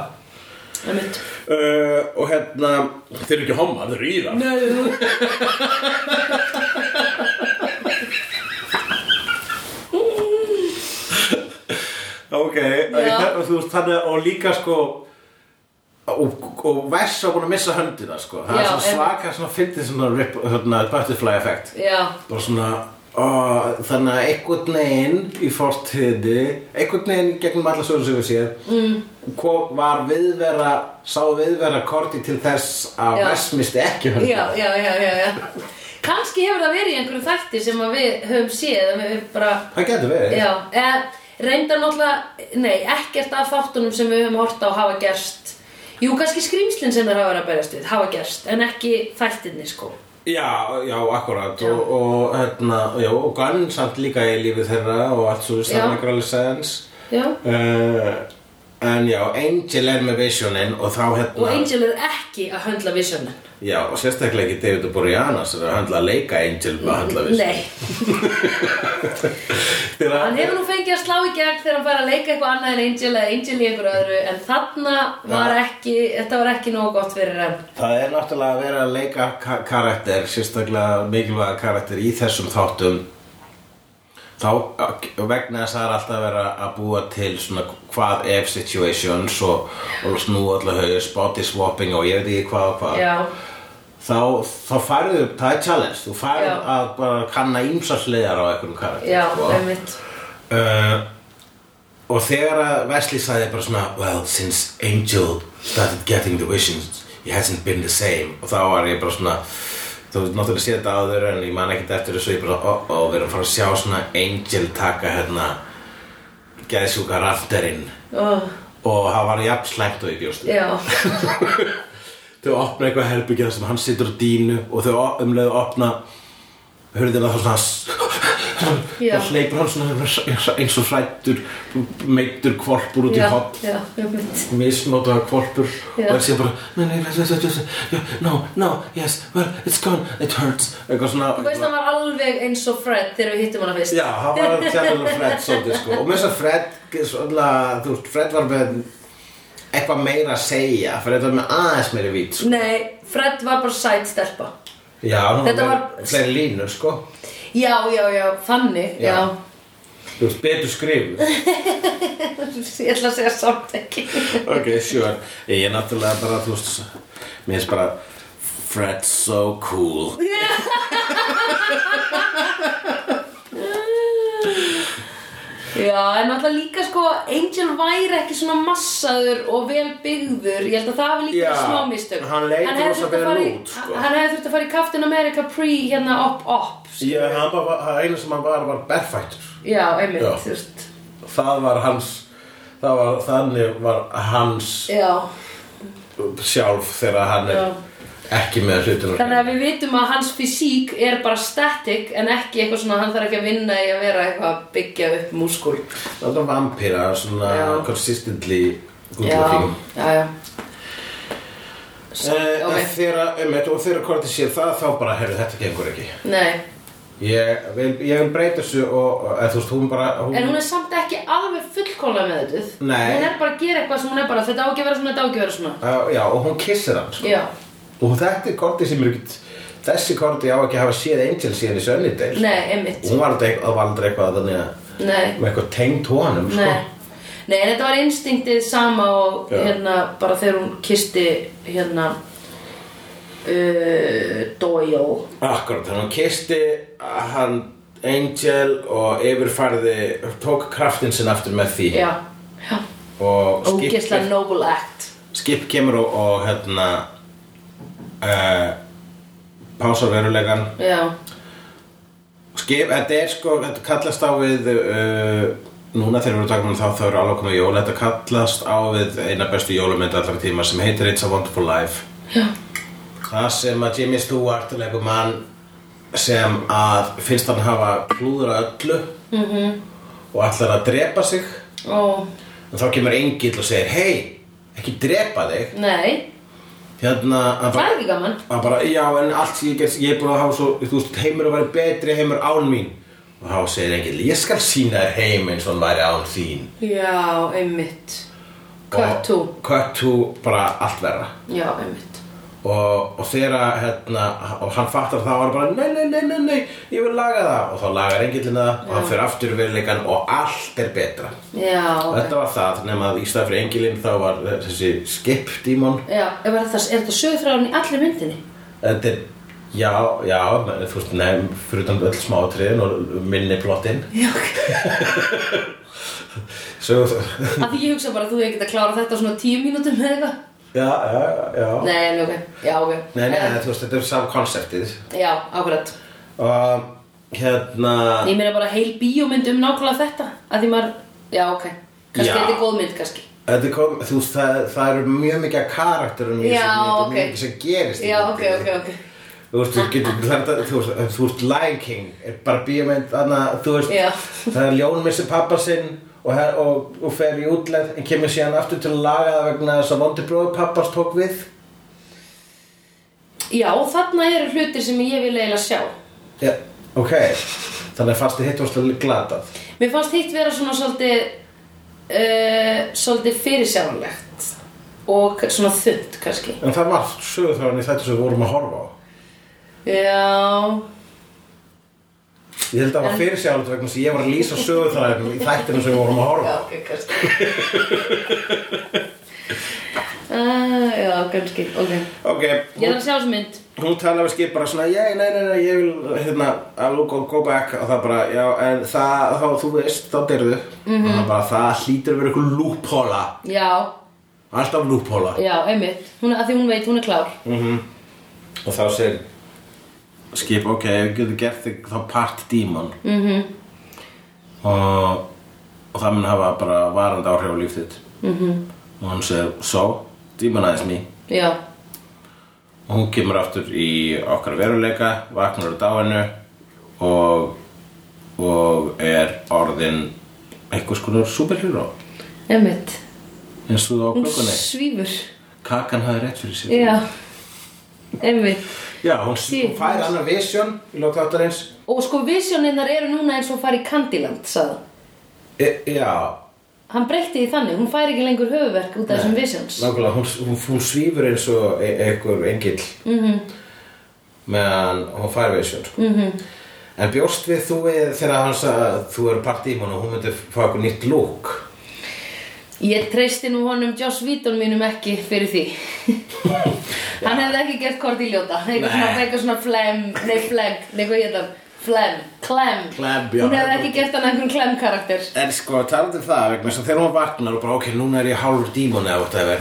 S1: Einmitt.
S2: uh, og hérna þeir eru ekki homar, þeir eru írar
S1: Nei.
S2: Ok, ég, þú veist þannig og líka sko og, og Vess á búin að missa höndina sko það er
S1: Já,
S2: svona
S1: en-
S2: svaka, svona fyndið svona, rip, svona butterfly effect
S1: Já.
S2: bara svona ó, þannig að einhvern veginn í fortíði einhvern veginn gegnum alla sögur sem við séð mm. var viðvera sá viðvera korti til þess að
S1: Já.
S2: Vess misti ekki
S1: já,
S2: höndina
S1: já, já, já, já. Kanski hefur það verið í einhverju þætti sem að við höfum séð að við höfum bara,
S2: það getur verið
S1: já, eða reyndar náttúrulega, nei, ekkert af þáttunum sem við höfum hort á hafa gerst Jú, kannski skrýmslinn sem þeir hafa verið að berjast við hafa gerst, en ekki þættinni, sko
S2: Já, já, akkurat Og, og, hérna, já, og Gunn samt líka í lífi þeirra og allt svo
S1: Já.
S2: það er alveg sens
S1: Já,
S2: uh, En já, Angel er með visionin og þá hérna
S1: og Angel er ekki að höndla visionin
S2: Já, og sérstaklega ekki David Boreana sem er að handla að leika Angel með að handla vision
S1: Nei,
S2: Þeirra,
S1: hann hefur nú fengið að slá í gegn þegar hann fær að leika eitthvað annað en Angel eða Angel í einhverju öðru en þarna var ekki, þetta var ekki nógu gott fyrir hann
S2: Það er náttúrulega að vera að leika ka karakter, sérstaklega mikilvæga karakter í þessum þáttum þá eh, vegna þess að það er alltaf að vera að búa til svona hvað ef situations og, og snú allar haus, body swapping og ég veit ekki hvað og hvað
S1: Já,
S2: þá, þá færðu, það er challenge þú færðu
S1: Já.
S2: að bara kanna ímsarslegar á einhverjum karakter
S1: já,
S2: sko.
S1: einmitt
S2: Uh, og þegar að Wesley sagði bara svona Well, since Angel started getting the visions It hasn't been the same Og þá var ég bara svona Þú veist, náttúrulega séð þetta áður en ég man ekkert eftir þessu Ég bara, oh, oh, við erum að fara að sjá svona Angel taka hérna Geðsjúka rafterinn
S1: oh.
S2: Og það var jafn slæmt og ég bjóst við.
S1: Já,
S2: Þau opna eitthvað herbyggja þar sem hann situr á dínu Og þau umlega opna Hörðina þá svona
S1: Já.
S2: þá hleypur hann svona eins og hrættur meittur kvolpur út í
S1: já,
S2: hopp
S1: já, einmitt
S2: misnótaða kvolpur
S1: Já.
S2: og er síðan bara "Nei, nei, yes, yes, yes, yes, yeah, no, no, yes, well, it's gone, it hurts eitthvað svona
S1: Þú veist hann var alveg eins og Fred þegar við hittum hana fyrst
S2: já, hann var tjáðilega Fred svolítið sko og með þess að Fred svona, þú veist, Fred var með eitthvað meira að segja Fred var með aðeins meiri vít sko.
S1: Nei, Fred var bara sæt stelpa
S2: já, hann
S1: Þetta
S2: var
S1: var-
S2: með fleiri línur sko
S1: Já, já, já, þannig,
S2: Já.
S1: já,
S2: þú veist, betur skrif
S1: Ég ætla að segja samt ekki
S2: ok, sure ég er náttúrulega bara, þú veist mér er bara Fred's so cool
S1: Já, en alltaf líka sko Angel væri ekki svona massaður og vel byggður Ég held að það hafi líka
S2: Já,
S1: verið smá mistök
S2: hann leit
S1: hefði
S2: rosa
S1: þurft
S2: vel
S1: að fara í-
S2: út, sko.
S1: Hann hefði þurft að fara í Captain America pre hérna op op
S2: Ég, hann bara, var- það eina sem hann var var berfættur
S1: Já, einmitt,
S2: Já.
S1: þú veist
S2: Það var hans það var, Þannig var hans
S1: Já,
S2: sjálf þegar hann er
S1: Já.
S2: ekki með hlutunum
S1: Þannig að við vitum að hans fysík er bara static en ekki eitthvað svona hann þarf ekki að vinna í að vera eitthvað að byggja upp múskul.
S2: Það var vampíra, svona
S1: Já.
S2: consistently good
S1: Já,
S2: looking
S1: já, já.
S2: Eh, en
S1: ok.
S2: Þegar, um, og þegar Korti sér það þá bara, heyrðu, þetta gengur ekki
S1: Nei,
S2: Ég vil, ég vil breyta þessu og, eða þú veist, hún bara hún,
S1: en hún er samt ekki alveg fullkóla með þetta.
S2: Nei.
S1: Hún er bara að gera eitthvað sem hún er bara þetta á ekki að vera svona, þetta á ekki að vera svona.
S2: á, Já, og hún kissir hann sko.
S1: Já,
S2: Og þetta er Korti sem er ekkert Þessi Korti á ekki að hafa séð Angel síðan í Sunnydale
S1: nei, einmitt.
S2: hún Sko. var aldrei, það var aldrei eitthvað þannig að
S1: Nei,
S2: með eitthvað tengd honum sko.
S1: nei. Nei, en þetta var instinktið sama og
S2: Já.
S1: hérna bara þegar hún kisti hérna uh, Doyle.
S2: akkurat, þannig að hún kisti hann Angel og yfirfærði tók kraftin sinn aftur með því
S1: Já, já.
S2: og
S1: Ógeðslega
S2: skip,
S1: noble act.
S2: skip kemur og, og hérna eh, uh, pásar verulegan
S1: Já,
S2: Skip, þetta er sko, þetta kallast á við uh, Núna þegar við erum takknum þá þá eru alveg komið jól Þetta kallast á við eina bestu jólumynda allar tíma sem heitir It's a Wonderful Life
S1: Já.
S2: Það sem að Jimmy Stewart leikur mann sem að finnst hann hafa plúðra öllu -hmm. og ætlar að drepa sig
S1: Ó,
S2: en þá kemur engill og segir hei, ekki drepa þig
S1: nei,
S2: hérna hann
S1: það
S2: bara,
S1: er ekki gaman.
S2: hann bara já en allt sem ég gerst ég er búin að hafa svo, þú veist, heimur að vera betri heimur án mín og þá segir engill ég skal sína þér heim eins og hann væri án þín
S1: Já, einmitt. Cut
S2: Og-
S1: to.
S2: cut to, bara allt verra
S1: Já, einmitt.
S2: og, og þegar að, hérna, og hann fattar það og hann bara nei, nei, nei, nei, nei, ég vil laga það og þá lagar engillin það og hann fyrir aftur í veruleikan og allt er betra
S1: Já, ok.
S2: þetta var það, nema að í stað fyrir engillin þá var þessi skip dímon
S1: Já, er bara það, er þetta sögurþráðan í allri myndinni?
S2: þetta er, já, já þú veist, nefn, fyrir utan öll smátriðin og minni plottin
S1: Já, ok.
S2: svo,
S1: Af því ég hugsa bara að þú hefði getað klárað þetta á svona tíu mínútum eða eitthvað.
S2: já, já, já
S1: Nei, en ok. Já, ok.
S2: nei, nei,
S1: Eh,
S2: þú veist, þetta er sá konseptið
S1: Já, akkurat.
S2: og hérna
S1: Ég meina bara heil bíómynd um nákvæmlega þetta. Af því maður, já, ok. Kannski
S2: Já.
S1: þetta er góð mynd, kannski.
S2: Þetta kom, þú veist, það, það eru mjög mikið af karakterum í
S1: Já,
S2: þessu mynd og
S1: ok.
S2: mjög mikið sem gerist í
S1: Já, ok, ok,
S2: myndinni.
S1: ok.
S2: Þú veist, þú getur, það er þetta- þú veist, þú veist, Lion King er bara bíómynd, þannig að þú veist,
S1: Já.
S2: það er ljón missi pappa sinn og, her- og, og fer í útlegð en kemur síðan aftur til að laga það vegna þess að vondi bróður pappas tók við.
S1: Já, þarna eru hlutir sem ég vil eiginlega sjá.
S2: Já, ok, þannig að fannst þið hitt varstu glatað.
S1: Mér fannst hitt vera svona svolítið, uh, svolítið fyrirsjáanlegt og k- svona þund kannski.
S2: En það var sögur þráðan í þetta sem við vorum að horfa á.
S1: Já,
S2: Ég held að það var fyrir vegna þess að ég var að lýsa sögur í þættinu sem við vorum að horfa á.
S1: já, ok, kannski. uh, já, kannski, ok.
S2: Ok,
S1: Ég þarf að sjá þessu mynd.
S2: hún talaði við skip bara svona ég, nei, nei, nei, ég vil hérna, I'll go, go back og það bara, já, en það, þá, þú veist, þá derðu og það bara, það hlýtur að vera eitthvað lúphóla
S1: Já,
S2: alltaf lúphóla
S1: já, einmitt. Hún, að því hún veit, hún er klár.
S2: Mm-hmm. og þá segir skip, ok, við getum gert þig þá part dímon mm -hmm. og, og það mun hafa bara varandi áhrif á líf þitt mm -hmm. og hann segir, so, demonize me
S1: Já,
S2: og hún kemur aftur í okkar veruleika, vaknar á dáinu og, og er orðin einhvers konar superhero
S1: einmitt.
S2: eins og þú á
S1: Hún
S2: klukkunni
S1: svífur.
S2: kakan hafði rétt fyrir sér
S1: Já, einmitt.
S2: Já, hún,
S1: Sí.
S2: hún fær annar vision í lokáttarins
S1: Og sko visjóninnar eru núna eins og fari í Candyland, sagði hann.
S2: e, Já,
S1: Hann breytti því þannig, hún fær ekki lengur höfuverk út af þessum visions.
S2: nákvæmlega, hún, hún, hún svífur eins og e einhver engill mm
S1: Mhm.
S2: -hmm. meðan hún fær vision sko. mm -hmm. En bjóst við þú við þegar hann sagði að þú eru part í og hún myndi fá eitthvað nýtt lúk
S1: Ég treysti nú honum Joss Víton mínum ekki fyrir því. hann hefði ekki gert kort í ljóta. Eitthvað svona,
S2: Nei.
S1: eitthvað svona flem, nei flegg, nei hvað ég það, flem, klem.
S2: Klem, já.
S1: Hún hefði ekki gert hann einhvern klem karakter.
S2: En sko, talandi um það, vegna þess að þegar hún vaknar og bara, ok, núna er ég hálfur dímon eða whatever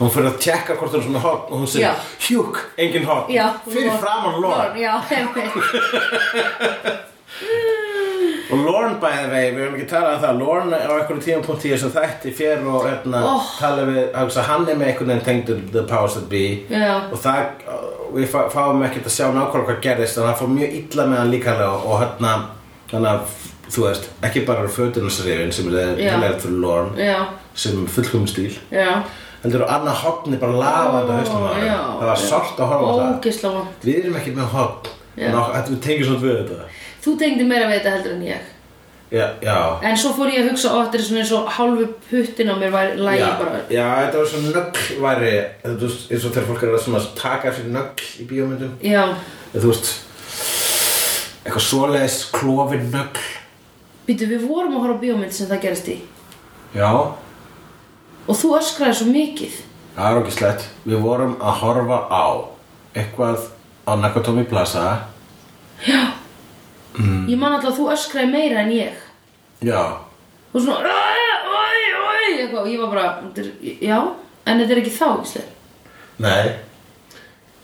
S2: Hún fyrir að tjekka hvort hún er svona hot og hún
S1: Já.
S2: segir, hjúk, engin hot
S1: Já.
S2: Fyrir
S1: Lorne-
S2: framan Lorne
S1: Lorne, Já, einmitt.
S2: Og Lorne by the way, við höfum ekki talað um það Lorne á einhverjum tímapunkti í þessu þætti fyrir og hérna
S1: Oh.
S2: tala við, hugsa, hann er með einhvern veginn tengdur The Powers That Be
S1: Já.
S2: og það, við fá, fáum ekkert að sjá nákvæmlega hvað gerðist en hann fór mjög illa með hann líkalega og hérna, þannig að, þú veist, ekki bara fötunarsrifin sem er
S1: Já.
S2: heilægt fyrir Lorne
S1: Já,
S2: sem er fullkomum stíl
S1: já.
S2: heldur og annað hotni bara lafandi á hausnum á
S1: Oh,
S2: honum.
S1: já.
S2: það var sort að horfa á það
S1: Ógisla vond.
S2: við erum ekki með hotn
S1: Já.
S2: en okkur- við tengjum svolítið við þetta
S1: Þú tengdi meira við þetta heldur en ég.
S2: já, já
S1: En svo fór ég að hugsa, ó, þetta er svona eins og hálfu puttin á mér væri lægi
S2: Já,
S1: bara.
S2: já, þetta var svo nögl væri þú veist, eins og þegar fólk er að svona taka fyrir nögl í bíómyndum
S1: Já,
S2: eða þú veist eitthvað svoleiðis klofin nögl
S1: býtu, við vorum að horfa á bíómynd sem það gerist í.
S2: já,
S1: Og þú öskraði svo mikið.
S2: það er ekki slett við vorum að horfa á eitthvað á Nakatomi Plaza
S1: Ég man alltaf að þú öskraði meira en ég
S2: já,
S1: Og svona "Æ, æ, æ", eitthvað, Og ég var bara "Þetta er- Já, en þetta er ekki þá Gísli.
S2: nei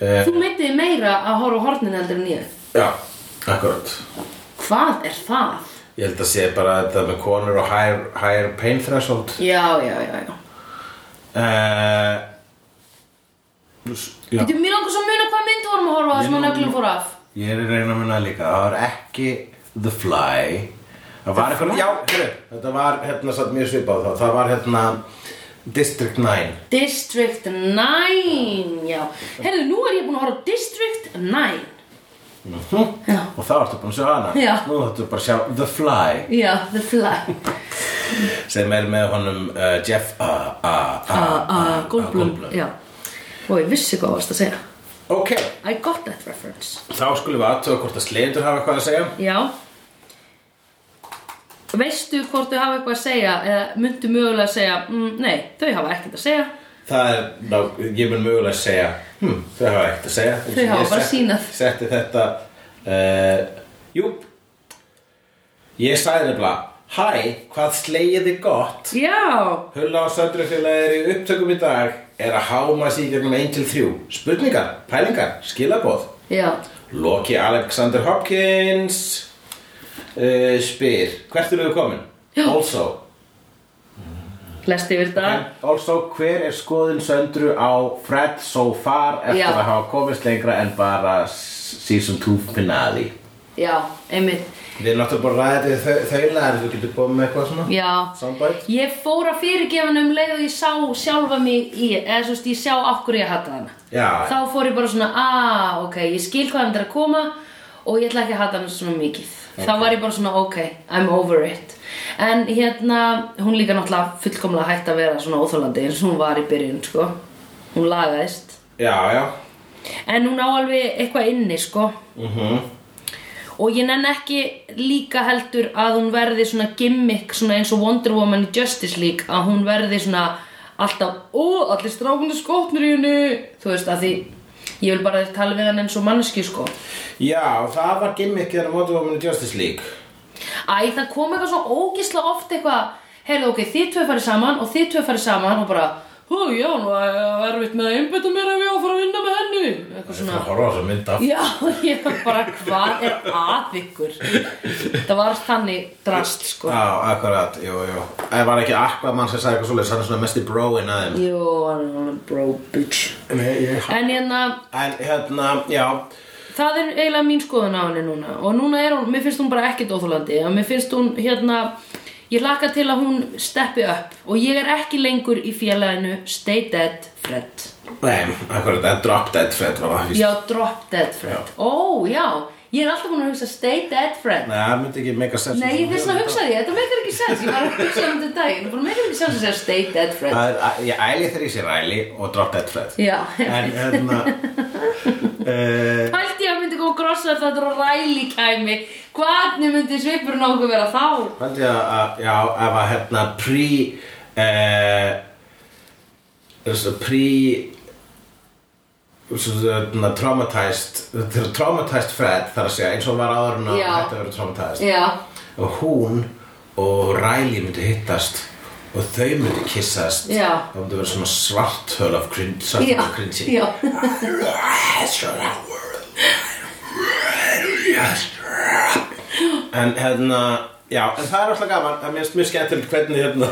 S2: eh,
S1: Þú meitið meira að horfa á hornin heldur en ég
S2: já, akkurat
S1: Hvað er það?
S2: Ég held að sé bara þetta með konur og higher, higher pain threshold
S1: Já, já, já, já.
S2: uh, já.
S1: Þú, mér langar svo að muna hvað mynd vorum að horfa það sem að nöglum fór af.
S2: Ég er að reyna að minna það líka Það var ekki The Fly Það var eitthvað, já, heru, þetta var hérna satt mjög svipað þá Það var hérna District 9
S1: District 9, já. Herðu, nú er ég búin að horfa á District 9.
S2: Mhm.
S1: Já.
S2: Og þá ertu búin að sjá hana
S1: Já.
S2: Nú ertu bara að sjá The Fly
S1: Já, The Fly.
S2: sem er með honum uh, Jeff uh, uh, uh,
S1: Ah, Goldblum,
S2: Goldblum.
S1: já. Og ég vissi hvað varst að segja.
S2: Ok,
S1: I got that reference.
S2: þá skulum við aðtöða hvort að sleitur hafa eitthvað að segja
S1: Já. Veistu hvort þau hafa eitthvað að segja eða myndu mögulega að segja, mm, nei, þau hafa ekkert að segja.
S2: Það er, ná, ég mun mögulega segja hm, Þau hafa ekkert að segja
S1: Þau hafa
S2: Ég
S1: bara
S2: setti-
S1: sýnað.
S2: Setti þetta uh, Jú Ég sagði nefnilega Hæ, hvað slegið þið gott
S1: Já,
S2: Hulla og söndrufélagir í upptökum í dag Er að háma sig í gegnum 1 til 3 Spurningar, pælingar, skilaboð
S1: já,
S2: Loki Alexander Hopkins uh, Spyr Hvert eru þau komin?
S1: Já.
S2: Also
S1: lest yfir þetta.
S2: En also, hver er skoðin söndru á Fred so far eftir
S1: Já.
S2: að hafa komist lengra en bara s- season 2 finale?
S1: Já, einmitt.
S2: Við erum náttúrulega bara ræðið þau, þaulega, þú getur komið með eitthvað svona?
S1: Já,
S2: Soundbite?
S1: ég fór að fyrirgefa hana um leið og ég sá sjálfa mig í, eða svo veist, ég sá okkur ég hata hana.
S2: Já,
S1: Þá fór ég bara svona, aaa, ok, ég skil hvað hann er að koma og ég ætla ekki að hata hann svona mikið. Þá var ég bara svona, ok, I'm over it. En hérna, hún líka náttúrulega fullkomlega hætt að vera svona óþólandi eins og hún var í byrjun, sko. Hún lagaðist.
S2: já, já.
S1: En hún á alveg eitthvað inni, sko.
S2: Uh
S1: Og ég nenn ekki líka heldur að hún verði svona gimmick, svona eins og Wonder Woman í Justice League, að hún verði svona alltaf, ó, allir strákunni skotnir í henni, þú veist, að því ég vil bara tala við hann eins og manneski, sko.
S2: Já, það var gimmick þegar Wonder Woman í Justice League.
S1: Æ, það kom eitthvað svo ógisla oft eitthvað, heyrðu, ok, þið tvö farið saman og þið tvö farið saman og bara, hú, já, nú er erfitt með að einbytta mér ef ég á að fara að vinna með henni, eitthvað
S2: Það
S1: svona.
S2: er horfa á þess að mynda.
S1: Já, ég var bara, hvað er að ykkur? Það var þannig drast, sko.
S2: Já, akkurat, jú, jú. Það var ekki Aquaman sem sagði eitthvað svoleiðis, hann er svona mest í bróin aðeim.
S1: Jú, hann er alveg bro bitch
S2: Nei, ég...
S1: En hérna,
S2: En hérna, já,
S1: það er eiginlega mín skoðun á henni núna Og núna er hún, mér finnst hún bara ekkert óþólandi Og mér finnst hún, hérna, ég laka til að hún steppi upp Og ég er ekki lengur í félaginu Stay dead, Fred
S2: nei, akkurat, en Drop Dead Fred var það, víst.
S1: Já, drop dead, Fred Ó, já, ég er alltaf búin að hugsa Stay dead, Fred
S2: Nei, það myndi ekki mega sens
S1: Nei, ég þess að hugsa því, þetta meikar ekki sens Ég var að hugsa um þetta í dag Það meikar ekki sens að segja stay dead, Fred
S2: Það er, ég æli þegar ég sé ræli og drop dead fred
S1: Já,
S2: En hérna uh,
S1: Hældi ég að myndi koma grossar þetta og ræli kæmi Hvernig myndi svipurinn á okkur vera þá?
S2: Haldi ég að, já, ef að hérna pre uh, þessu pre þessu hérna traumatized þetta er traumatized fred þar að segja eins og hún var áður en að
S1: Já.
S2: hætti að vera traumatized
S1: Já,
S2: og hún og Riley myndi hittast og þau myndi kissast
S1: Já.
S2: það myndi vera svona svart höl af cringe, svart
S1: Já,
S2: höl af cringe
S1: já.
S2: en hérna já, en það er alltaf gaman það er mjög, mjög skemmtilegt hvernig hérna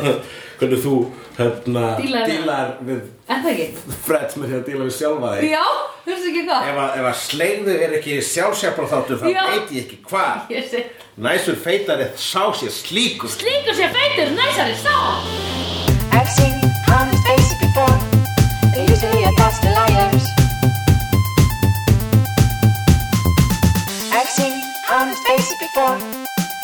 S2: hvernig þú hérna
S1: Dílar við.
S2: dílar við
S1: er það ekki?
S2: Fred með því að díla við sjálfa þig
S1: Já, hörstu ekki hvað?
S2: ef að, ef að sleigðu er ekki sjálfsjafla þáttur þá
S1: Já.
S2: veit ég ekki hvað
S1: Ég sé
S2: næstur feitari sá sér slíkur
S1: Slíkur sér feitur, næsari, stá!
S3: I've seen honest faces before. They're usually a bunch of liars. I've seen honest faces before.